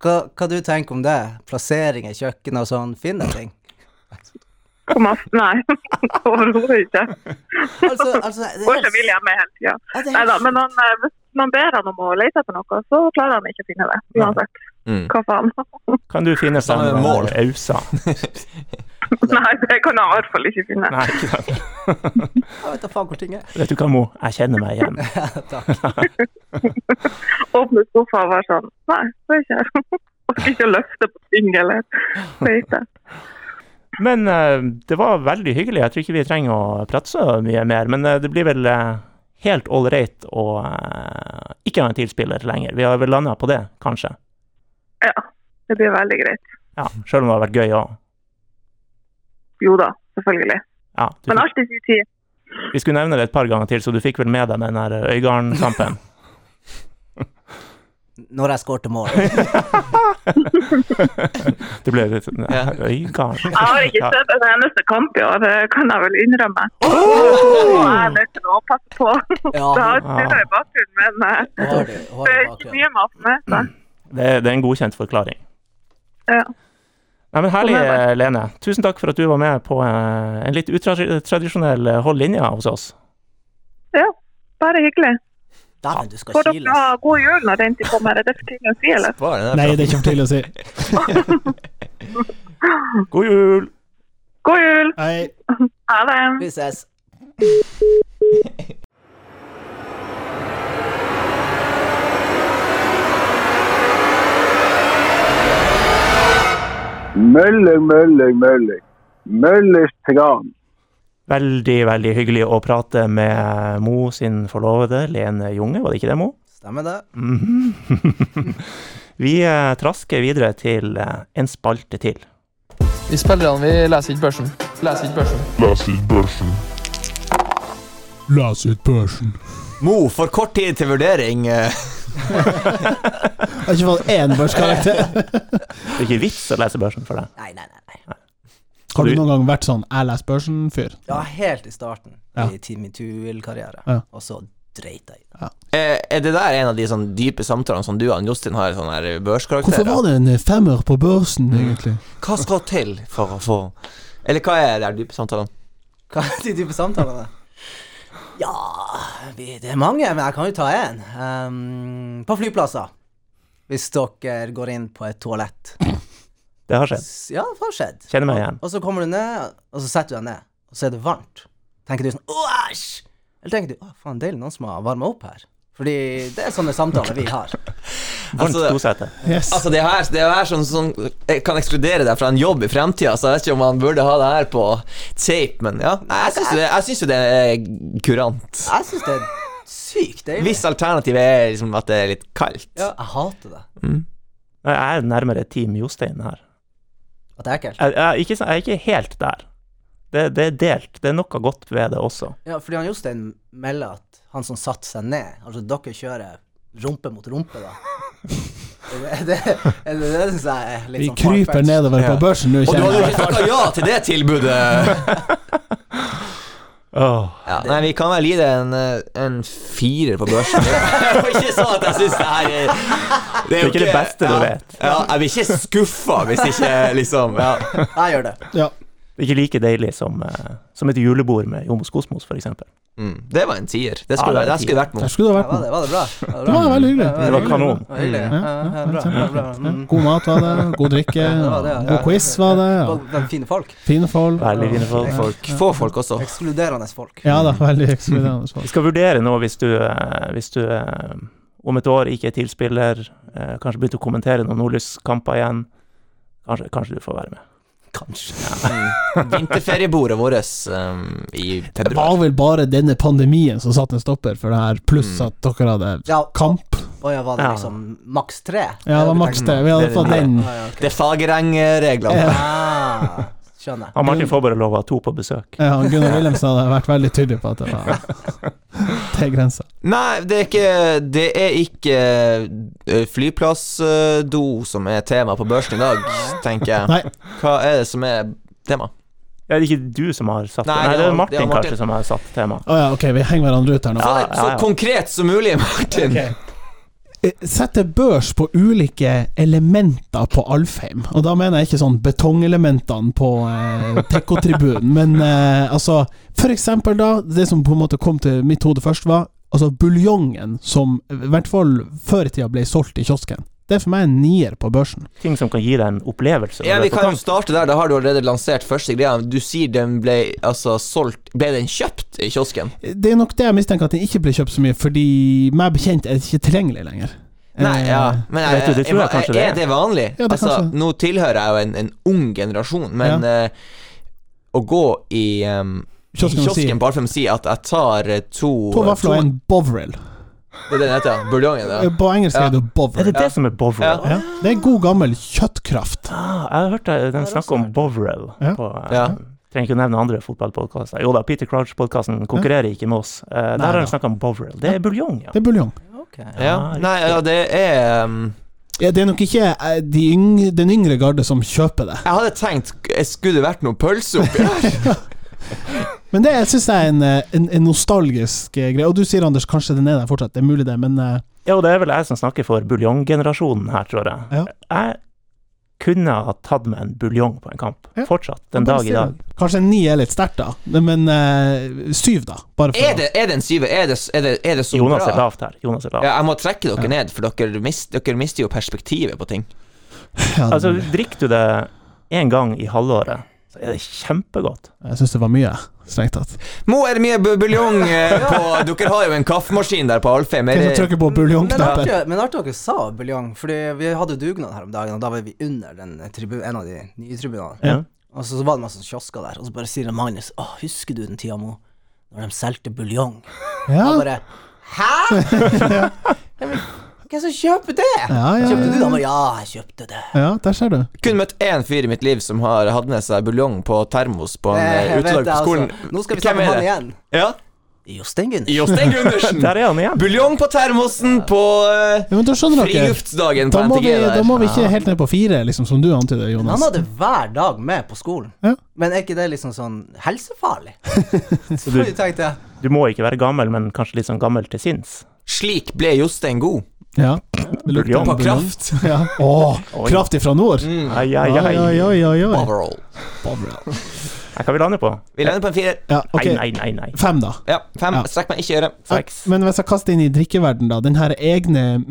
hva, hva du tenker om det? Plassering i kjøkkenet og sånn, finne ting? På masse, nei, overhodet ikke. Altså, altså det Går seg vill er, hjem med hele tida. ja, det er Nei da, helt men han, eh, hvis man ber han om å lete etter noe, så klarer han ikke å finne det. Uansett. Mm. Hva faen. Kan du finne Samme sammen mål. med Ausa? Nei, det kan han i hvert fall ikke finne. Nei, ikke sant. Jeg vet da faen hvor ting er. Vet du hva, Mo? Jeg kjenner meg igjen. Takk. Åpne skuffa og være sånn Nei, det er ikke her. Orker ikke å løfte på ting eller lete. Men eh, det var veldig hyggelig. Jeg tror ikke vi trenger å prate så mye mer. Men eh, det blir vel eh, helt ålreit å eh, ikke ha en tilspiller lenger. Vi har vel landa på det, kanskje. Ja, det blir veldig greit. Ja, Sjøl om det har vært gøy òg. Jo da, selvfølgelig. Ja, du Men fikk, alltid i tid. vi skulle nevne det et par ganger til, så du fikk vel med deg den der Øygarden-kampen. Når jeg skårte mål. Det ble litt sånn Ja. Øygarden Jeg har ikke Ja. sett en eneste kamp i år, det kan jeg vel innrømme. Og jeg er nødt til å passe på. Ja, Det har hun stilla i bakgrunnen, men eh, har det hun har det det er i ikke bakgrunnen. Mm. mye man får med seg. Det, er- det er en godkjent forklaring. Ja. Nei, men Herlig, Sånn er eh, Lene. Tusen takk for at du var med på eh, en litt utradisjonell eh, hold linja hos oss. Ja, bare hyggelig. Dæven, du skal altså. Får dere kiles. ha god jul når den tid kommer? Er det for tidlig å si, eller? Hva er den der Nei, fra? det er ikke for tidlig å si. God jul! God jul! Nei. Ha det! Vi ses. Møller, møller, møller. Møllers tran. Veldig, veldig hyggelig å prate med Mo sin forlovede, Lene Junge, var det ikke det, Mo? Stemmer det? Mhm. vi eh, trasker videre til eh, en spalte til. Vi spillerne, vi leser ikke børsen. Leser ikke børsen. Les ut børsen. Mo, for kort tid til vurdering. eh. Jeg har ikke fått én børskarakter. Det er ikke vits å lese børsen for deg. Nei, nei, nei. nei. Har du noen gang vært sånn 'jeg leser børsen'-fyr? Ja, helt i starten Ja. i Timmy Tuel-karriere, Ja. og så dreit jeg i det. Eh, Er det der en av de sånn dype samtalene som du og han Jostein har, sånn her børskarakterer? Hvorfor var det en femmer på børsen, egentlig? Hva skal til for å få Eller hva er de dype samtalene? Hva er de type samtalene? Ja vi, Det er mange, men jeg kan jo ta én. Ehm, på flyplasser. Hvis dere går inn på et toalett. Det har skjedd. S- Ja, det har skjedd. Kjenner meg igjen. Og så kommer du ned, og så setter du deg ned, og så er det varmt. Tenker du sånn Åh, æsj! Eller tenker du Å, faen, deilig, noen som har varma opp her. Fordi det er sånne samtaler vi har. Varmt Altså, det- tosete. Yes. Altså, det her, det her som, som jeg kan ekskludere deg fra en jobb i fremtida, så jeg vet ikke om han burde ha det her på tape, men ja. Nei, jeg syns jo det, jeg syns jo det er kurant. Jeg syns det er sykt deilig. Hvis alternativet er liksom at det er litt kaldt. Ja, jeg hater det. Nei, Jeg er nærmere Team Jostein her. At det er ekkelt. Jeg, jeg, er ikke, jeg er ikke helt der. Det, det er delt. Det er noe godt ved det også. Ja, fordi han Jostein melder at han som satte seg ned Altså, dere kjører rumpe mot rumpe, da. Det, det, det, det syns jeg er litt Vi sånn kryper far-fetched. nedover på Ja. børsen nå, Og du hadde kjenner jo jeg. ikke takka ja til det tilbudet! Åh. Ja, nei, vi kan vel gi det en, eh, en firer på børsen. Det var ikke sånn at jeg syns det her er Det er ikke det beste du ja, vet. Ja, jeg blir ikke skuffa hvis ikke liksom ja. Jeg gjør det. Ja. Det er ikke like deilig som, eh, som et julebord med Jomos Kosmos, for eksempel. mm, Det var en tier. Det Ja, skulle, det var det en skulle vært Der noe. skulle du ha Ja, vært var med. det, var det bra? Var Det bra? var veldig hyggelig. Det var kanon. Det var hyggelig. Ja, Ja, ja, ja, bra, bra, bra. Mm. God mat var det, god drikke, det var det, ja. god quiz var det. Ja. Folk- de Fine folk. Fine folk. Veldig fine folk. Folk, få folk også. Ekskluderende folk. Ja da, veldig Mm. ekskluderende Vi folk. skal vurdere nå hvis du, eh, hvis du eh, om et år ikke er tilspiller, eh, kanskje begynte å kommentere noen nordlyskamper igjen. Kanskje, kanskje du får være med. Kanskje. Mm. Vinterferiebordet vårt um, i Det februar. var vel bare denne pandemien som satte en stopper for det her, pluss Mm. at dere hadde Ja, kamp. og ja, var det Ja. liksom maks tre? Ja, det var maks det. Vi hadde fått den. Ah, ja, ok. Det er fagerengreglene. Ah, Skjønner. Han Martin får bare lov å ha to på besøk. Ja, han Gunnar Wilhelmsen hadde vært veldig tydelig på at det var til grensa. Nei, det er ikke, det er ikke eh, flyplassdo som er tema på børsen i dag, tenker Nei. jeg. Hva er det som er tema? Ja, det er ikke du som har satt det. Nei, Nei, det det er var- Martin, det var Martin. kanskje som har satt temaet. Å ja, ok, vi henger hverandre ut her nå. Ja, ja, så ja. konkret som mulig, Martin. Ok. Eh, Setter børs på ulike elementer på Alfheim, og da mener jeg ikke sånn betongelementene på eh, Tekko-tribunen, men eh, altså For eksempel, da, det som på en måte kom til mitt hode først, var altså buljongen som i hvert fall før i tida ble solgt i kiosken. Det er for meg en nier på børsen. Ting som kan gi deg en opplevelse. Ja, når du Vi er på kan jo kamp. starte der. Da har du allerede lansert første greia. Du sier den ble altså solgt Ble den kjøpt i kiosken? Eh, Det er nok det jeg mistenker at den ikke ble kjøpt så mye, fordi meg bekjent er det ikke tilgjengelig lenger. Nei, Eh, ja. Men Vet du, det tror jeg kanskje det er. er det vanlig? Ja, det er altså, kanskje- nå tilhører jeg jo en, en ung generasjon, men eh, å gå i em, Kiosken kiosken, og si- på Alfheim og si at jeg tar eh, to To vafler og en bovril. Det er det den heter. Buljongen, ja. Eh, På engelsk Ja. er det bovril. Er det det som er Bovril? Ja. Ja, det er god gammel kjøttkraft. Ah, jeg har hørt deg- den snakke om Bovril. Ja. På, eh, Ja. Trenger ikke å nevne andre fotballpodkaster. Jo da, Peter Crouch-podkasten konkurrerer ikke med oss. Eh, der har da. han snakka om Bovril. Det er buljong, ja. Det er buljong. Ok. ja. riktig. Nei, ja, det er em, Ja, det er nok ikke eh, de yng, den yngre garde som kjøper det. Jeg hadde tenkt eh, Skulle det vært noe pølse oppi her? Men det syns jeg er en, eh, en, en nostalgisk eh, greie. Og du sier, Anders, kanskje den er der fortsatt. Det er mulig, det, men eh, Ja, og det er vel jeg som snakker for buljonggenerasjonen her, tror jeg. Ja. Jeg kunne ha tatt med en buljong på en kamp. Ja. Fortsatt. Den dag i dag. Kanskje en ni er litt sterkt, da. Men eh, syv, da. Bare for Er det, er det en syver? Er det, er det, er det så Jonas er bra? lavt her. Jonas er lavt. Ja, jeg må trekke dere ned, for dere, mist, dere mister jo perspektivet på ting. å- Ja, det, Altså, drikker du det én gang i halvåret, så er det kjempegodt. jeg syns det var mye, strengt tatt. Mo, er det mye bu- buljong eh, på Dere har jo en kaffemaskin der på Alfheim. Er Hvem som det, trykker på Men buljongknappen? artig, men artig dere sa buljong, Fordi vi hadde jo dugnad her om dagen, og da var vi under den tribu, en av de nye tribunene. Ja. Og så, så var det masse sånne kiosker der, og så bare sier han Magnus Å, husker du den tida, Mo? Når de solgte buljong? Ja, Jeg bare Hæ?! Jeg bare, Hvem som kjøper det? Ja, ja, Kjøpte ja, du ja. det? Han bare Ja, jeg kjøpte det. ja, der ser du. kun møtt én fyr i mitt liv som har hatt med seg buljong på termos på en Eh, eh, jeg vet utedag det, på altså. skolen. Nå skal Hvem vi er snakke om han det? igjen. Ja, Jostein Gundersen. Jostein Gundersen. Der er han igjen. Buljong på termosen på eh, Ja, men da skjønner dere. friluftsdagen på Da må, NTG vi, da der. må vi ikke helt ned på fire, liksom som du antyder, Men Jonas. han hadde hver dag med på skolen. Ja. Men er ikke det liksom sånn helsefarlig? Så du- du tenkte jeg Du må ikke være gammel, men kanskje litt sånn gammel til sinns. Slik ble Jostein god. Ja. Det lukter Buljong. På buljong. kraft. Ja. Åh, Oi. kraft ifra nord. Ai, ai, Oi, oi, ai. oi, oi, oi. Overall. Bovril. Hva vi lander på? Vi lander på en firer. Ja, ok. Nei, nei, nei. nei. Fem, da. Ja, fem. Ja. Strekk meg ikke i øret. Seks. Men hvis jeg kaster inn i drikkeverden da den her egne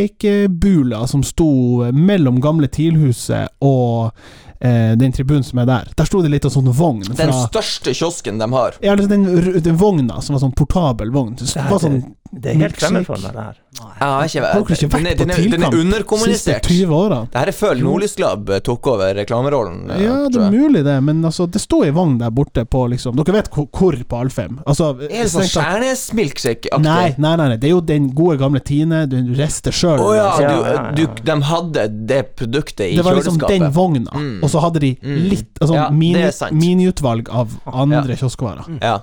milkshake-bula som sto eh, mellom gamle Tilhuset og eh, den tribunen som er der, der sto det litt av sånn vogn Den fra største kiosken de har. ja, altså den, r- den vogna som var sånn portabel vogn. Det Det, var her, sånn det, det er helt fremmed for meg, det her. Jeg har ikke Har dere den, ikke er, vært på den, er, den er tilkamp siste underkommunisert. 20 årene? Det her er før Nordlyslab eh, tok over reklamerollen. eh, Ja, det tror er jeg. mulig det, men altså, det sto ei vogn der borte på liksom Dere vet hvor, hvor på Alfheim? Altså, Er det sånn strengt tatt- Nei, Skjærnes-milkshake-aktig? nei, nei, nei, det er jo den gode gamle Tine, du rister sjøl. Å ja, Ja, du, ja, ja. du, de hadde det produktet i Det var liksom kjøleskapet. den vogna, Mm. og så hadde de Mm. litt altså, Ja, det mini, er sant. Mm. miniutvalg av andre kioskvarer. Ja.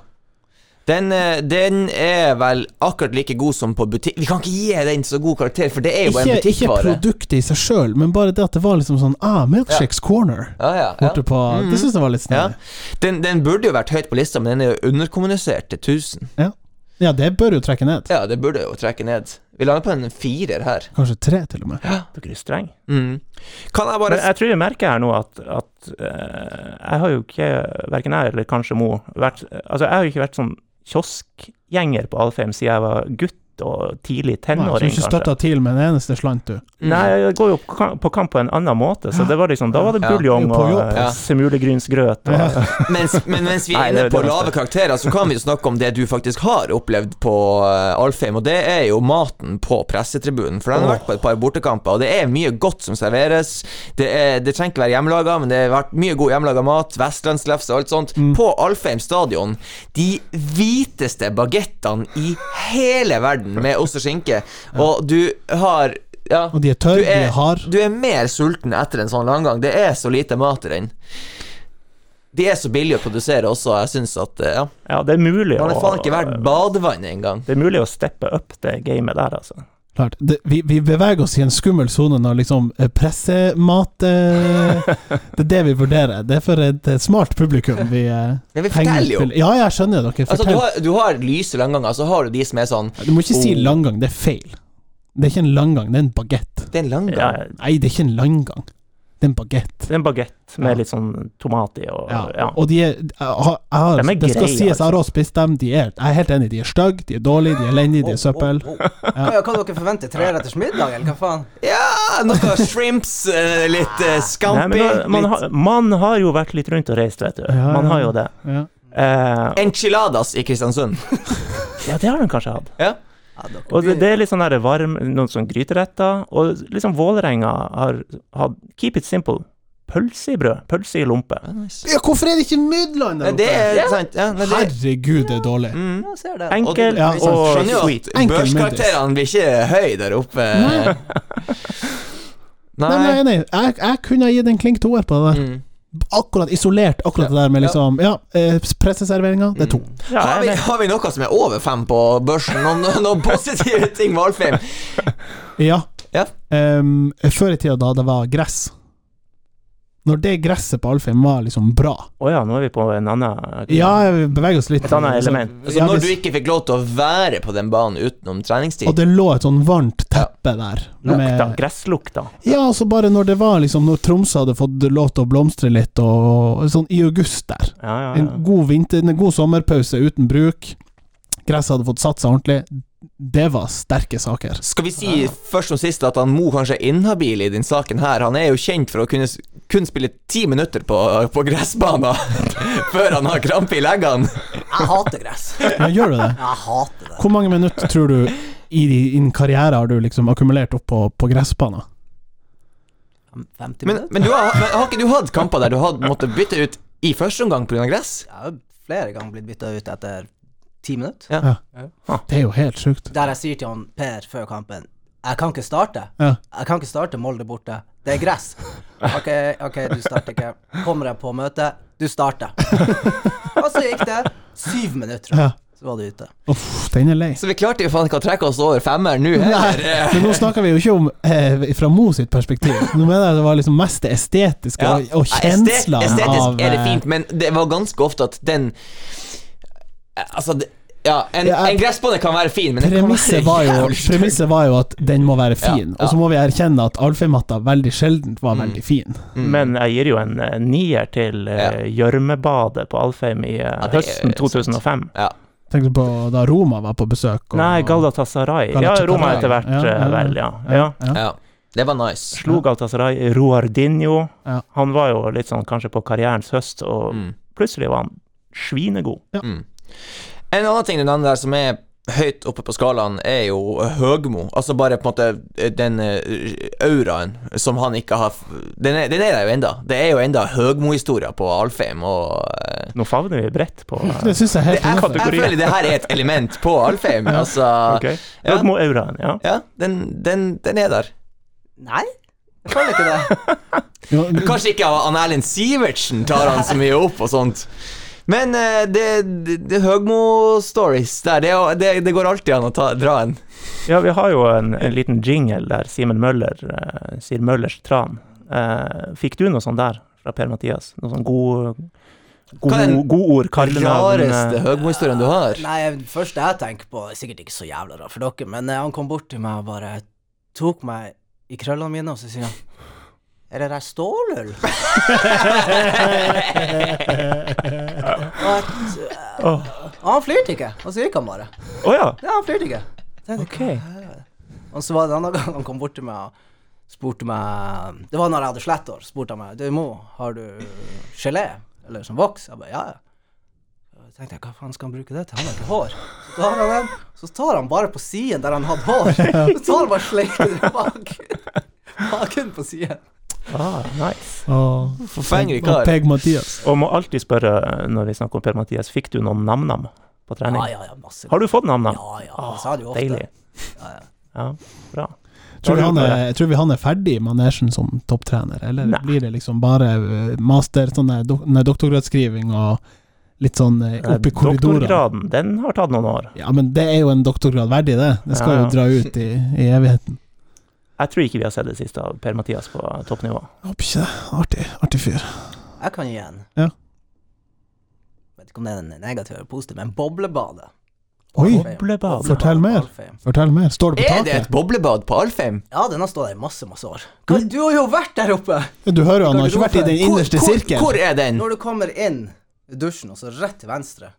Den, eh, den er vel akkurat like god som på butikk Vi kan ikke gi den så god karakter, for det er jo Ikke, en ikke butikkvare. produktet i seg sjøl, men bare det at det var liksom sånn Ah, Milkshakes Corner. Ja, ja, ja. Mm. Borte på Det syns jeg var litt Ja. snedig. Den, den burde jo vært høyt på lista, men den er jo underkommunisert til 1000. Ja. ja, det bør jo trekke ned. Ja, det burde jo trekke ned. Vi lander på en firer her. Kanskje tre, til og med. Dere er streng. Mm. Kan jeg bare Men jeg tror jeg merker her nå at, at eh, jeg har jo ikke, verken jeg eller kanskje Mo, vært Altså, jeg har jo ikke vært sånn kioskgjenger på Alfheim siden jeg var gutt og tidlig Nei, så du tenåring, ikke kanskje. støtta til med en eneste slant, du. Nei, jeg går jo på kam- på kamp på en annen måte, så det var liksom, da var det Ja. buljong Jo, på og jobb. eh, Ja. semulegrynsgrøt og Ja. mens, Men mens vi Nei, er det inne er på det neste. lave karakterer, så kan vi jo snakke om det du faktisk har opplevd på eh, Alfheim, og det er jo maten på pressetribunen. For den har vært på et par bortekamper, og det er mye godt som serveres. Det, er, det trenger ikke være hjemmelaga, men det har vært mye god hjemmelaga mat. Vestlandslefse og alt sånt. Mm. På Alfheim stadion, de hviteste bagettene i hele verden med ost og skinke, og du har ja, Og de er tørre, du er, de er harde. du er mer sulten etter en sånn langgang. Det er så lite mat i den. De er så billige å produsere også, jeg syns at eh, ja. Ja, det er mulig Man er faen ikke verdt å badevann engang. Det er mulig å steppe opp det gamet der, altså. Klart. Det, vi, vi beveger oss i en skummel sone når liksom eh, pressemat eh, Det er det vi vurderer. Det er for et eh, smart publikum vi eh, Men vi henger forteller ut jo! til. Ja, jeg skjønner dere. Altså, du Fortell. har, du har lyse langganger, så har du de som er sånn Du må ikke si Oh. langgang, det er feil. Det er ikke en langgang, det er en bagett. Det er en langgang. Ja, Nei, det er ikke en langgang. Det er en bagett. det er en bagett Ja. med litt sånn tomat i og Ja. ja. Og de er, jeg har, jeg har, De er Det skal greie, sies, jeg har altså. også spist dem. De er, jeg er helt enig, de er stygge, de er dårlige, de er elendige, de er søppel. Oh, oh, oh. Hva, hva dere forventer? Treretters middag, eller hva faen? Ja, noe shrimps, eh, litt uh, Nei, scampi, men da, man, litt har, man har jo vært litt rundt og reist, vet du. Ja, Man ja. har jo det. Ja. Eh, enchiladas i Kristiansund. ja, det har de kanskje hatt. Ja. Ja, dere Og det, blir- det er litt sånn der varm, noen sånn gryteretter. Og liksom Vålerenga har hatt Keep it simple. Pølse i brød. Pølse i lompe. Ja, hvorfor er det ikke Mydland Nei, der Det oppe? er sant. Ja, nei, det, Herregud, det er dårlig. mm. Ja, ser det. Enkel Ja, og, sant. Skjønner jo sweet. at Enkel børskarakterene blir ikke høy der oppe. Nei, Nei. nei, nei. Jeg, jeg kunne ha gitt en klink toer på det. der. Mm. Akkurat isolert, akkurat det der med liksom Ja, eh, presseserveringa, det er to. Mm. Ja, Har vi, jeg, har vi noe som er over fem på børsen? Noen, noen positive ting med Alfheim? Ja. Ja. Ehm, før i tida, da det var gress Når det gresset på Alfheim var liksom bra Å ja, nå er vi på en annen Ja, vi beveger oss litt Et annet element. Så Altså, Ja, når du hvis- ikke fikk lov til å være på den banen utenom Og treningstid det lå et sånn varmt teppe der. Lukta. Gresslukta. Ja, altså bare når det var liksom Når Tromsø hadde fått lov til å blomstre litt, og sånn i august der. Ja, ja, ja. En god, vinter, en god sommerpause uten bruk. Gresset hadde fått satt seg ordentlig. Det var sterke saker. Skal vi si først og sist at han Mo kanskje er inhabil i den saken her? Han er jo kjent for å kunne s- kun spille ti minutter på, på gressbanen før han har krampe i leggene. Jeg hater gress. Ja, gjør du det? Jeg hater det. Hvor mange minutter tror du i din karriere har du liksom akkumulert opp på, på gressbanen? 50 Men, minutter? men, du har, men har ikke du hatt kamper der du har måttet bytte ut i første omgang pga. gress? Jeg har flere ganger blitt bytta ut etter ti minutter. Det er jo helt sjukt. Der jeg sier til han Per før kampen Jeg kan ikke starte. Ja. Jeg kan ikke starte Molde borte. Det er gress. OK, ok, du starter ikke. Kommer jeg på møtet? Du starter. Og så gikk det syv minutter, tror jeg. Ja. Så var du ute. Uff, den er lei. Så vi klarte jo faen ikke å trekke oss over femmer nå heller. Nei, men nå snakker vi jo ikke om eh, fra Mo sitt perspektiv. Nå mener jeg det var liksom mest det estetiske og, Ja, og estet- kjenslene Estetisk av er det eh, fint, men det var ganske ofte at den Altså, det, ja, en, Ja, jeg- en gressbane kan være fin, men den kan være Premisset var, jo, jævlig stygg. premisset var jo at den må være fin, Ja, Mm. ja. og så må vi erkjenne at Alfheim-matta veldig sjeldent var veldig fin. Men jeg gir jo en eh, nier til eh, gjørmebadet på Alfheim i eh, det er høsten sant. 2005. Ja. Tenker du på da Roma var på besøk? og- Nei, Galatasaray. Ja, Galatasaray. Roma etter hvert, Ja, ja, eh, ja. vel, ja. ja. Ja, ja. ja. Det var nice. Slo Galatasaray Roardinho. Ja. Han var jo litt sånn kanskje på karrierens høst, og Mm. plutselig var han svinegod. En annen ting du nevner der som er høyt oppe på skalaen, er jo Høgmo. Altså bare på en måte den eh, auraen som han ikke har Den er, den er der jo enda. Det er jo enda Høgmo-historia på Alfheim og eh, Nå favner vi bredt på eh, Det syns jeg er helt jeg, innenfor. jeg føler det her er et element på Alfheim. Altså, Ok. Ja. Rogmo Auraen, ja. ja, den, den, den er der. Nei, jeg føler ikke det. Jo, Kanskje ikke han Erlend Sivertsen tar han så mye opp og sånt. Men eh, det, det, det Høgmo-stories der, det, er jo- det, det går alltid an å ta, dra en. Ja, vi har jo en, en liten jingle der Simen Møller eh, sier Møllers tran. Eh, fikk du noe sånt der fra Per-Mathias? Noe sånn god, god, Hva er den god ord, kallenavn? Rareste eh, Høgmo-historien du har. Nei, det første jeg tenker på, er sikkert ikke så jævla rart for dere, men eh, han kom bort til meg og bare tok meg i krøllene mine, og så sier han Er det der stålull? og jeg- Åh. og han flirte ikke, og så gikk han bare. Å ja, Ja, han flirte ikke. Så jeg tenkte, ok. Og så var det en annen gang han kom bort til meg og spurte meg Det var når jeg hadde slettår. Spurte han meg Du Mo, har du gelé? Eller som voks? Jeg bare ja, ja. Så tenkte jeg, hva faen skal han bruke det til? Han har ikke hår. Så tar han den, så tar han bare på siden der han hadde hår. Så tar han bare sleiken bak. Baken på siden. Ah, nice. og Forfengelig og kar. Peg Mathias. Og må alltid spørre eh, når vi snakker om Per-Mathias, fikk du noen nam-nam på Ah, trening? Ja, ja, ja, masse. Har du fått nam-nam? Ja, ja. Han sa det jo ofte. Deilig. Ja, ja. Ja, bra. Tror, Da vi lurer han jeg på er, tror vi han er ferdig i manesjen som topptrener, eller Nei. blir det liksom bare eh, master, sånn der dok nei, doktorgradsskriving og litt sånn eh, opp i korridorene? Doktorgraden, den har tatt noen år. Ja, men det er jo en doktorgrad verdig, det. Det skal Ja, ja. jo dra ut i, i evigheten. Jeg tror ikke vi har sett det siste av Per-Mathias på toppnivå. Håper ikke det. Artig, artig fyr. Jeg kan gi en. Ja. Vet ikke om det er den negative eller positive, men boblebade. Oi, Alfheim. Boblebad. Fortell mer. Alfheim. fortell mer. Står det på Er det et taket? boblebad på Alfheim? Ja, den har stått der i masse, masse år. Hva, du har jo vært der oppe! Du hører jo, han har ikke vært i den Hvor, innerste hvor, sirkel. hvor er den? Når du kommer inn i dusjen, og så rett til venstre.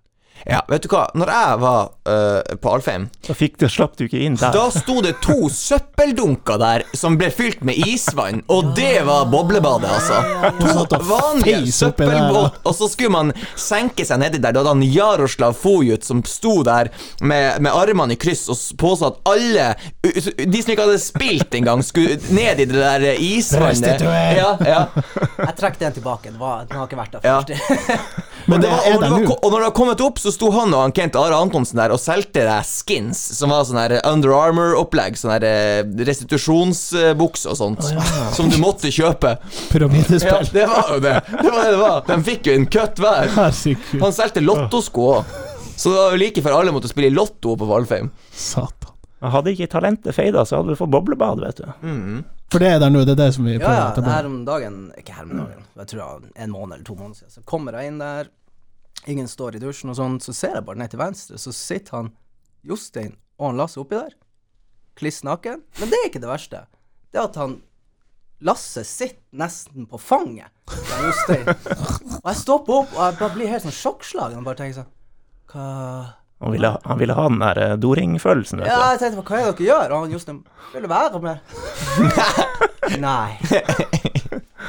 Ja, vet du hva, når jeg var eh, på Alfheim, Da fikk du, slapp du ikke inn der. da sto det to søppeldunker der som ble fylt med isvann, og det var boblebadet, altså. Og satt og Vanlige feis oppi der, da. søppelbåt, og så skulle man senke seg nedi der. Da hadde han Jaroslav Fojut som sto der med, med armene i kryss og s- påstod at alle, u- u- de som ikke hadde spilt engang, skulle ned i det der eh, isvannet. Restituer. Ja, ja. Jeg trekker den tilbake. Den, var, den har ikke vært der Ja. først. Men Og det er og der når det nå. var- Og når det har kommet opp, så sto han og han Kent Are Antonsen der og solgte deg skins, som var sånn her Under Armour-opplegg. Sånn her eh, restitusjonsbukse og sånt, som du måtte kjøpe. Ja, Pyramidespill. det var jo det. Det var det det var. De fikk jo en køtt hver. Herregud, Han solgte lottosko òg. Så det var jo like før alle måtte spille i lotto på Valfheim. satan. Hadde ikke talentet feida, så hadde du fått boblebad, vet du. For det er der nå, det er det som vi Ja, prøver å ja. Her etablere. om dagen Ikke her om dagen, jeg tror det var en måned eller to måneder siden. Så kommer jeg inn der, ingen står i dusjen og sånn, så ser jeg bare ned til venstre, så sitter han Jostein og han Lasse oppi der, kliss naken. Men det er ikke det verste. Det er at han Lasse sitter nesten på fanget til han Jostein. Og jeg stopper opp, og jeg bare blir helt sånn sjokkslagen og bare tenker sånn Hva Han ville, han ville ha den der eh, doringfølelsen, vet Ja, du. jeg tenkte på hva er det dere gjør? Og han Jostein vil du være med. Nei.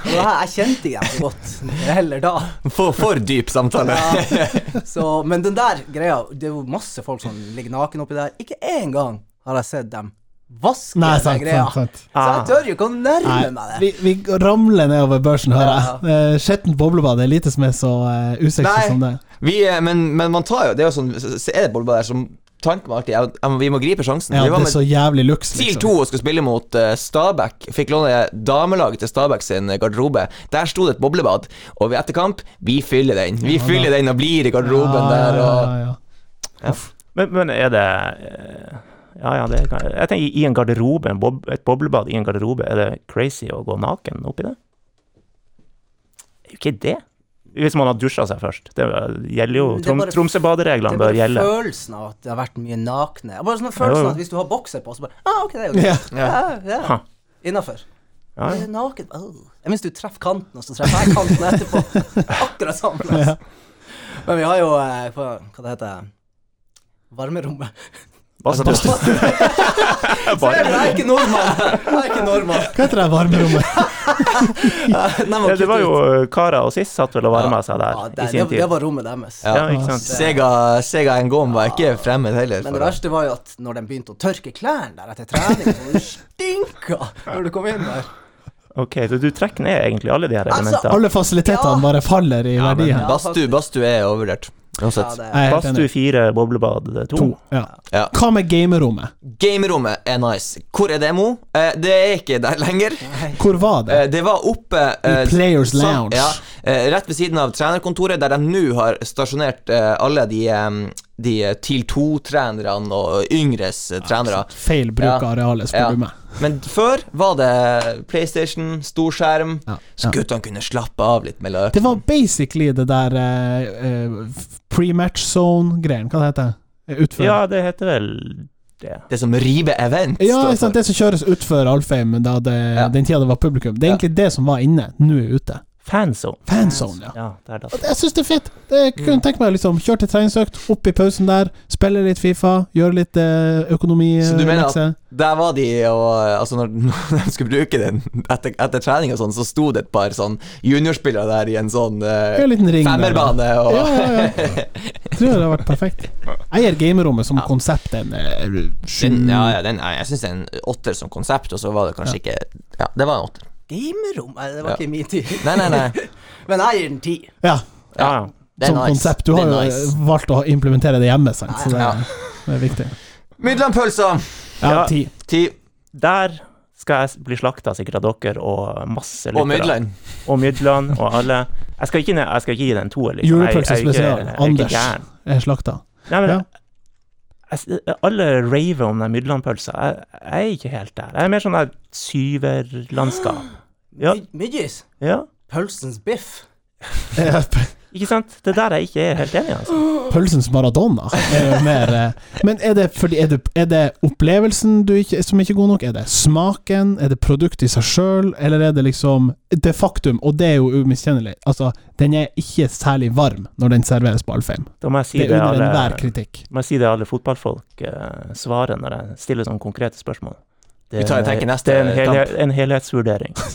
Og det her, jeg kjente ikke dem så godt heller da. For, for dyp samtale. Ja. Så, men den der greia Det er jo masse folk som ligger naken oppi der. Ikke én gang har jeg sett dem vaske Nei, den sant, greia. sant, sant. Så jeg tør jo ikke å nærme meg Nei, det. vi, vi ramler nedover børsen, hører jeg. Eh, Skjettent boblebad det er lite som er så eh, usexy Nei. som det. Vi, eh, men, men man tar jo Det er jo sånn så Er det boblebad der som tanken var alltid jeg, jeg, Vi må gripe sjansen. Ja, vi det var er med så jævlig luks, TIL 2 liksom. og skulle spille mot eh, Stabæk. Fikk låne damelaget til Stabæk sin garderobe. Der sto det et boblebad, og ved etterkamp vi fyller den. Vi fyller den og blir i garderoben der. Og... ja. Men, men er det eh, Ja, ja, det kan jeg tenker i en garderobe, en bob, et boblebad i en garderobe, er det crazy å gå naken oppi det? Er jo ikke det. Hvis man har dusja seg først. Det gjelder jo Det er Trom, bare- Det Tromsøbadereglene er bør bare gjelde. følelsen av at det har vært mye nakne. Bare sånn Jo, følelsen jo. av at hvis du har bokser på, så bare ah, OK, det er jo greit. Ja, ja. Ha. Innafor. Ja, ja. Det er Naken Au. Jeg minst du treffer kanten, og så treffer jeg kanten etterpå. Akkurat samme. Altså. Men vi har jo eh, hva, hva det heter Varmerommet. Badstue. Ser du, jeg er ikke nordmann! Jeg er ikke nordmann. Hva heter det varmerommet? Nei, Ja, det var jo eh, Kara og Siss satt vel og varma seg der ja, i det, sin det, tid. det var rommet deres. ja, ikke sant? Sega, Sega Ngom var ikke fremmed heller. Men for det det. verste var jo at når de begynte å tørke klærne der etter trening, så var det stinka når du kom inn der. Ok, så du trekker ned egentlig alle de her Altså, elementene. Alle fasilitetene Ja. bare faller i verdi Men her. Badstue badstue er overvurdert. Ja, Uansett. det, Jeg er helt Badstue enig. fire, boblebad to. Ja. Ja. Hva med gamerommet? Gamerommet er nice. Hvor er det, Mo? Eh, det er ikke der lenger. Hvor var det? Eh, det var oppe eh, I Players sam- Lounge. Ja, eh, rett ved siden av trenerkontoret, der de nå har stasjonert eh, alle de, eh, de eh, TIL 2-trenerne og yngres eh, trenere. Feil bruk av Ja. arealet, spør Ja. du meg. Men før var det PlayStation, storskjerm, Ja. så Ja. guttene kunne slappe av litt med løk. Det var basically det der eh, eh, pre-match zone-greien, hva det heter det? Utfør. Ja, det heter vel det. Det som altså. river event. Ja, står ikke sant? for. det som kjøres utfor Alfheim da det, Ja. den tida det var publikum. Det er egentlig det som var inne, nå er ute. Fanzone. Fanzone, ja. Ja, der da. Og det- Jeg syns det er fett. Det jeg Mm. kunne tenke meg liksom Kjøre til treningsøkt, opp i pausen der, spille litt Fifa, gjøre litt eh, økonomi Så du mener at- lekse. Der var de og eh, Altså, når, når de skulle bruke den etter, etter trening og sånn, så sto det et par sånn juniorspillere der i en sånn eh, Ja, en liten ring der, femmerbane og Ja, ja, ja. Jeg tror det hadde vært perfekt. Jeg gir gamerommet som konsept en eh, sju Den, ja, ja, den, jeg syns det er en åtter som konsept, og så var det kanskje ikke Ja, det var en åtter. gamerom? Nei, det var ikke i min tid. Nei, nei, nei. Men jeg gir den ti. Ja, Ja, ja. Det er som nice. konsept. Du Det har er jo eh, nice. valgt å implementere det hjemme, sant? så det, Ja. det er viktig. Middelhavspølser. Ja, Ja. ti. Ti. Der skal jeg s- bli slakta sikkert av dere og masse Og Midland. Og Midland og alle. Jeg skal ikke, ned- jeg skal ikke gi den en toer, liksom. Jeg- Julepølse jeg er ikke- spesial. jeg er ikke Anders gæren. er slakta. Nei, men Ja. jeg, jeg, alle raver om den Midland-pølsa. Jeg, jeg er ikke helt der. Jeg er mer sånn der syverlandskap. Ja, Mid- Midgis? ja. Pølsens biff? Eh, p- Ikke sant? Det der jeg ikke er helt enig i. Altså. Pølsens Maradona er jo mer eh, Men er det, fordi, er det, er det opplevelsen du ikke, som ikke er god nok? Er det smaken? Er det produktet i seg sjøl? Eller er det liksom det faktum, og det er jo umiskjennelig, altså, den er ikke særlig varm når den serveres på Alfheim. Da må jeg si Det det, er under enhver alle, kritikk. må jeg si det alle fotballfolk eh, svarer når jeg stiller sånne konkrete spørsmål. Det, Vi tar- jeg tenker neste det er en, helhet, kamp. en helhetsvurdering.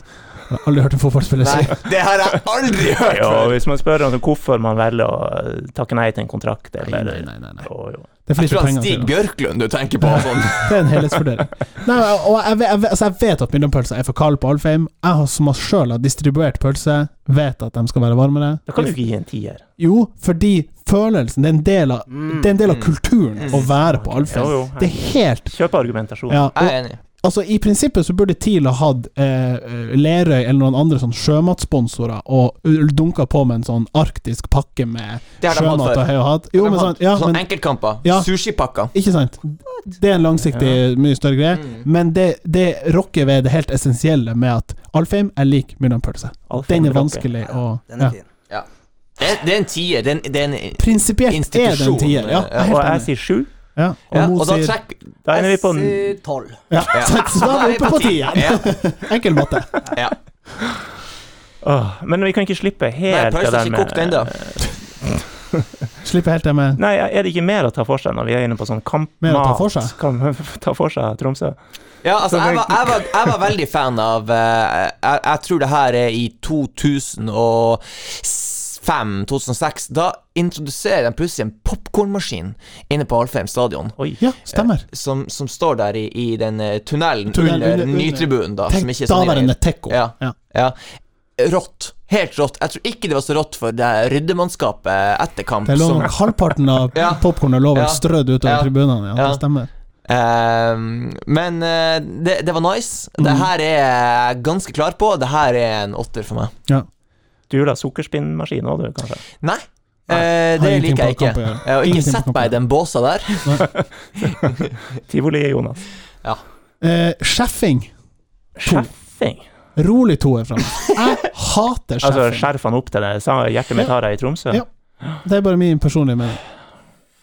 Jeg har aldri hørt en fotballspiller si Det har jeg aldri hørt Ja, før! hvis man spør altså, hvorfor man velger å eh, takke nei til en kontrakt Nei, eller nei, nei, nei, nei. Jo, jo. Det er for Jeg lite tror han penger til Stig det. Bjørklund du tenker på. Sånn. Det er en helhetsvurdering. Nei, men, og jeg, ve- jeg, ve- altså, jeg vet at middampølser er for kalde på Alfheim. Jeg har som sjøl har distribuert pølser, vet at de skal være varmere. Da kan du ikke gi en tier. Jo, fordi følelsen Det er en del av, Mm. det er en Mm. del av kulturen å være Jo, på jo. Alfheim. Det er helt Kjøp argumentasjon. ja, og, Jeg er enig. altså I prinsippet så burde TIL ha hatt eh, Lerøy eller noen andre sånn sjømatsponsorer og dunka på med en sånn arktisk pakke med Det har de hatt sjømat. før. og hei og hatt. Jo, men sånn, ja, Sånn men enkeltkamper. Ja. Sushipakker. Ikke sant? Det er en langsiktig, mye større greie, Mm. men det, det rokker ved det helt essensielle med at Alfheim er lik Myrdanpølse. Alfheim Den er rocker. vanskelig å Den er ja. fin. Det, det er en tier. Det er en, det er en Prinsipielt er det en Institusjon, tier, ja. ja. Og Helt jeg enig. sier sju. Ja. Og ja, Mo og da sier trekk Da ender vi på Jeg n- sier tolv. ja. Så da er vi oppe på tieren. Ja, Enkel matte. ja. Åh, Men vi kan ikke slippe Nei, helt pølsa er ikke kokt ennå. Slipper helt det med Nei, er det ikke mer å ta for seg når vi er inne på sånn kampmat? Mer å ta for seg? Kan ta for seg Tromsø? Ja, altså, jeg var, jeg, var, jeg var veldig fan av eh, jeg, jeg tror det her er i 2005-2006. Da introduserer de plutselig en popkornmaskin inne på Alfheim stadion. Oi. Ja, stemmer. Som, som står der i, i den eh, tunnelen Tunnel under under- under. nytribunen, da. som Tenk ikke er så daværende nydelig. Tekko. Ja. Ja. Ja. Rått. Helt rått. Jeg tror ikke det var så rått for det ryddemannskapet etter kamp. Det lå som- nok halvparten av Ja. popkornet lå vel Ja. strødd utover Ja. tribunene, ja. Ja. Det stemmer. Ehm, men eh, det, det var nice. Mm. Det her er jeg ganske klar på. Det her er en åtter for meg. Ja. Du vil ha sukkerspinnmaskin òg, du, kanskje? Nei. Eh, det ingenting liker jeg på kamp ikke. å gjøre. Eh, Og ikke Ingenting på sett kamp å meg i den båsa der. Tivoli, Jonas. Eh, Skjeffing. Skjeffing? Rolig toer fra meg. Jeg hater Altså, skjeffing. skjerf han opp til det? Sa hjertet mitt har jeg i Tromsø? Ja. Det er bare min personlige mening.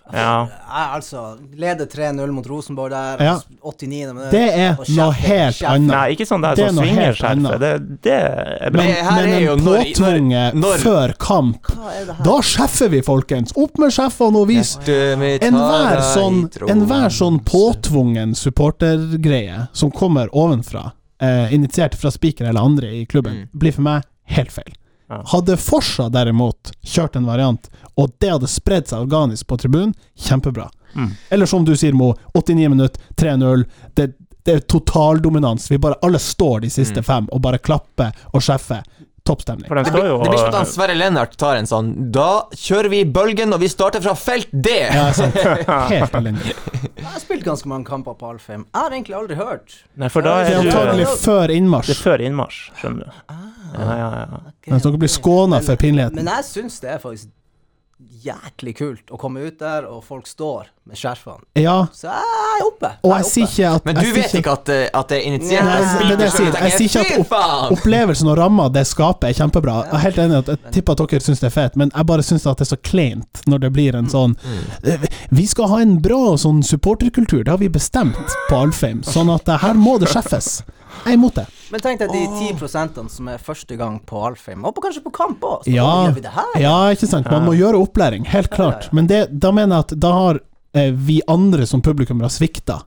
Ja. Jeg altså leder 3-0 mot Rosenborg der. Ja. 89. minutt. Det er Og noe kjeft- helt kjeft. annet. Nei, ikke sånn der Det er som noe svinger helt skjerfet. annet. Det, det er bra. Men- Men, her er men jo en når- påtvunget når- når- før kamp Hva er det her? Da skjeffer vi, folkens! Opp med skjeffene og vis! Enhver sånn, enhver sånn påtvungen supportergreie som kommer ovenfra, eh, initiert fra spiker eller andre i klubben, blir for meg helt feil. Mm. Ja. Hadde Forsa derimot kjørt en variant, og det hadde spredd seg organisk på tribunen, kjempebra. Mm. Eller som du sier, Mo, 89 minutter, 3-0. Det, det er totaldominans. Vi bare alle står de siste fem og bare klapper og skjeffer. Toppstemning. Mm. For de Det står blir, jo det blir som at han Sverre Lennart tar en sånn Da kjører vi bølgen, og vi starter fra felt D! Ja, sant. Helt elendig. Jeg har spilt ganske mange kamper på Alfheim. Jeg har egentlig aldri hørt. Nei, for da Det er er du antagelig Ah. før Det er innmarsj. før innmarsj, skjønner du. Ja, ja, ja. Mens dere blir skåna for pinligheten. Men jeg syns det er faktisk jæklig kult å komme ut der, og folk står med skjerfene. Ja, Så jeg er oppe. og er jeg sier oppe. ikke at Men du jeg sier vet ikke at, eh, at det er initiert Nei, av det er spiker det jeg selv, sier. tenker Jeg sier ikke at Fy opp- faen! Opplevelsen og ramma det skaper, er kjempebra. Jeg er helt enig i at jeg tipper at dere syns det er fett, men jeg bare syns at det er så kleint når det blir en sånn Mm, eh, Vi skal ha en bra sånn supporterkultur, det har vi bestemt på Alfheim, sånn at eh, her må det sjeffes. Jeg er imot det. Men tenk deg de 10 som er første gang på Alfheim, og på, kanskje på kamp òg. Ja, Gjør vi det her? ja, ikke sant. Man må gjøre opplæring, helt klart. Men det, da mener jeg at da har eh, vi andre som publikummere svikta.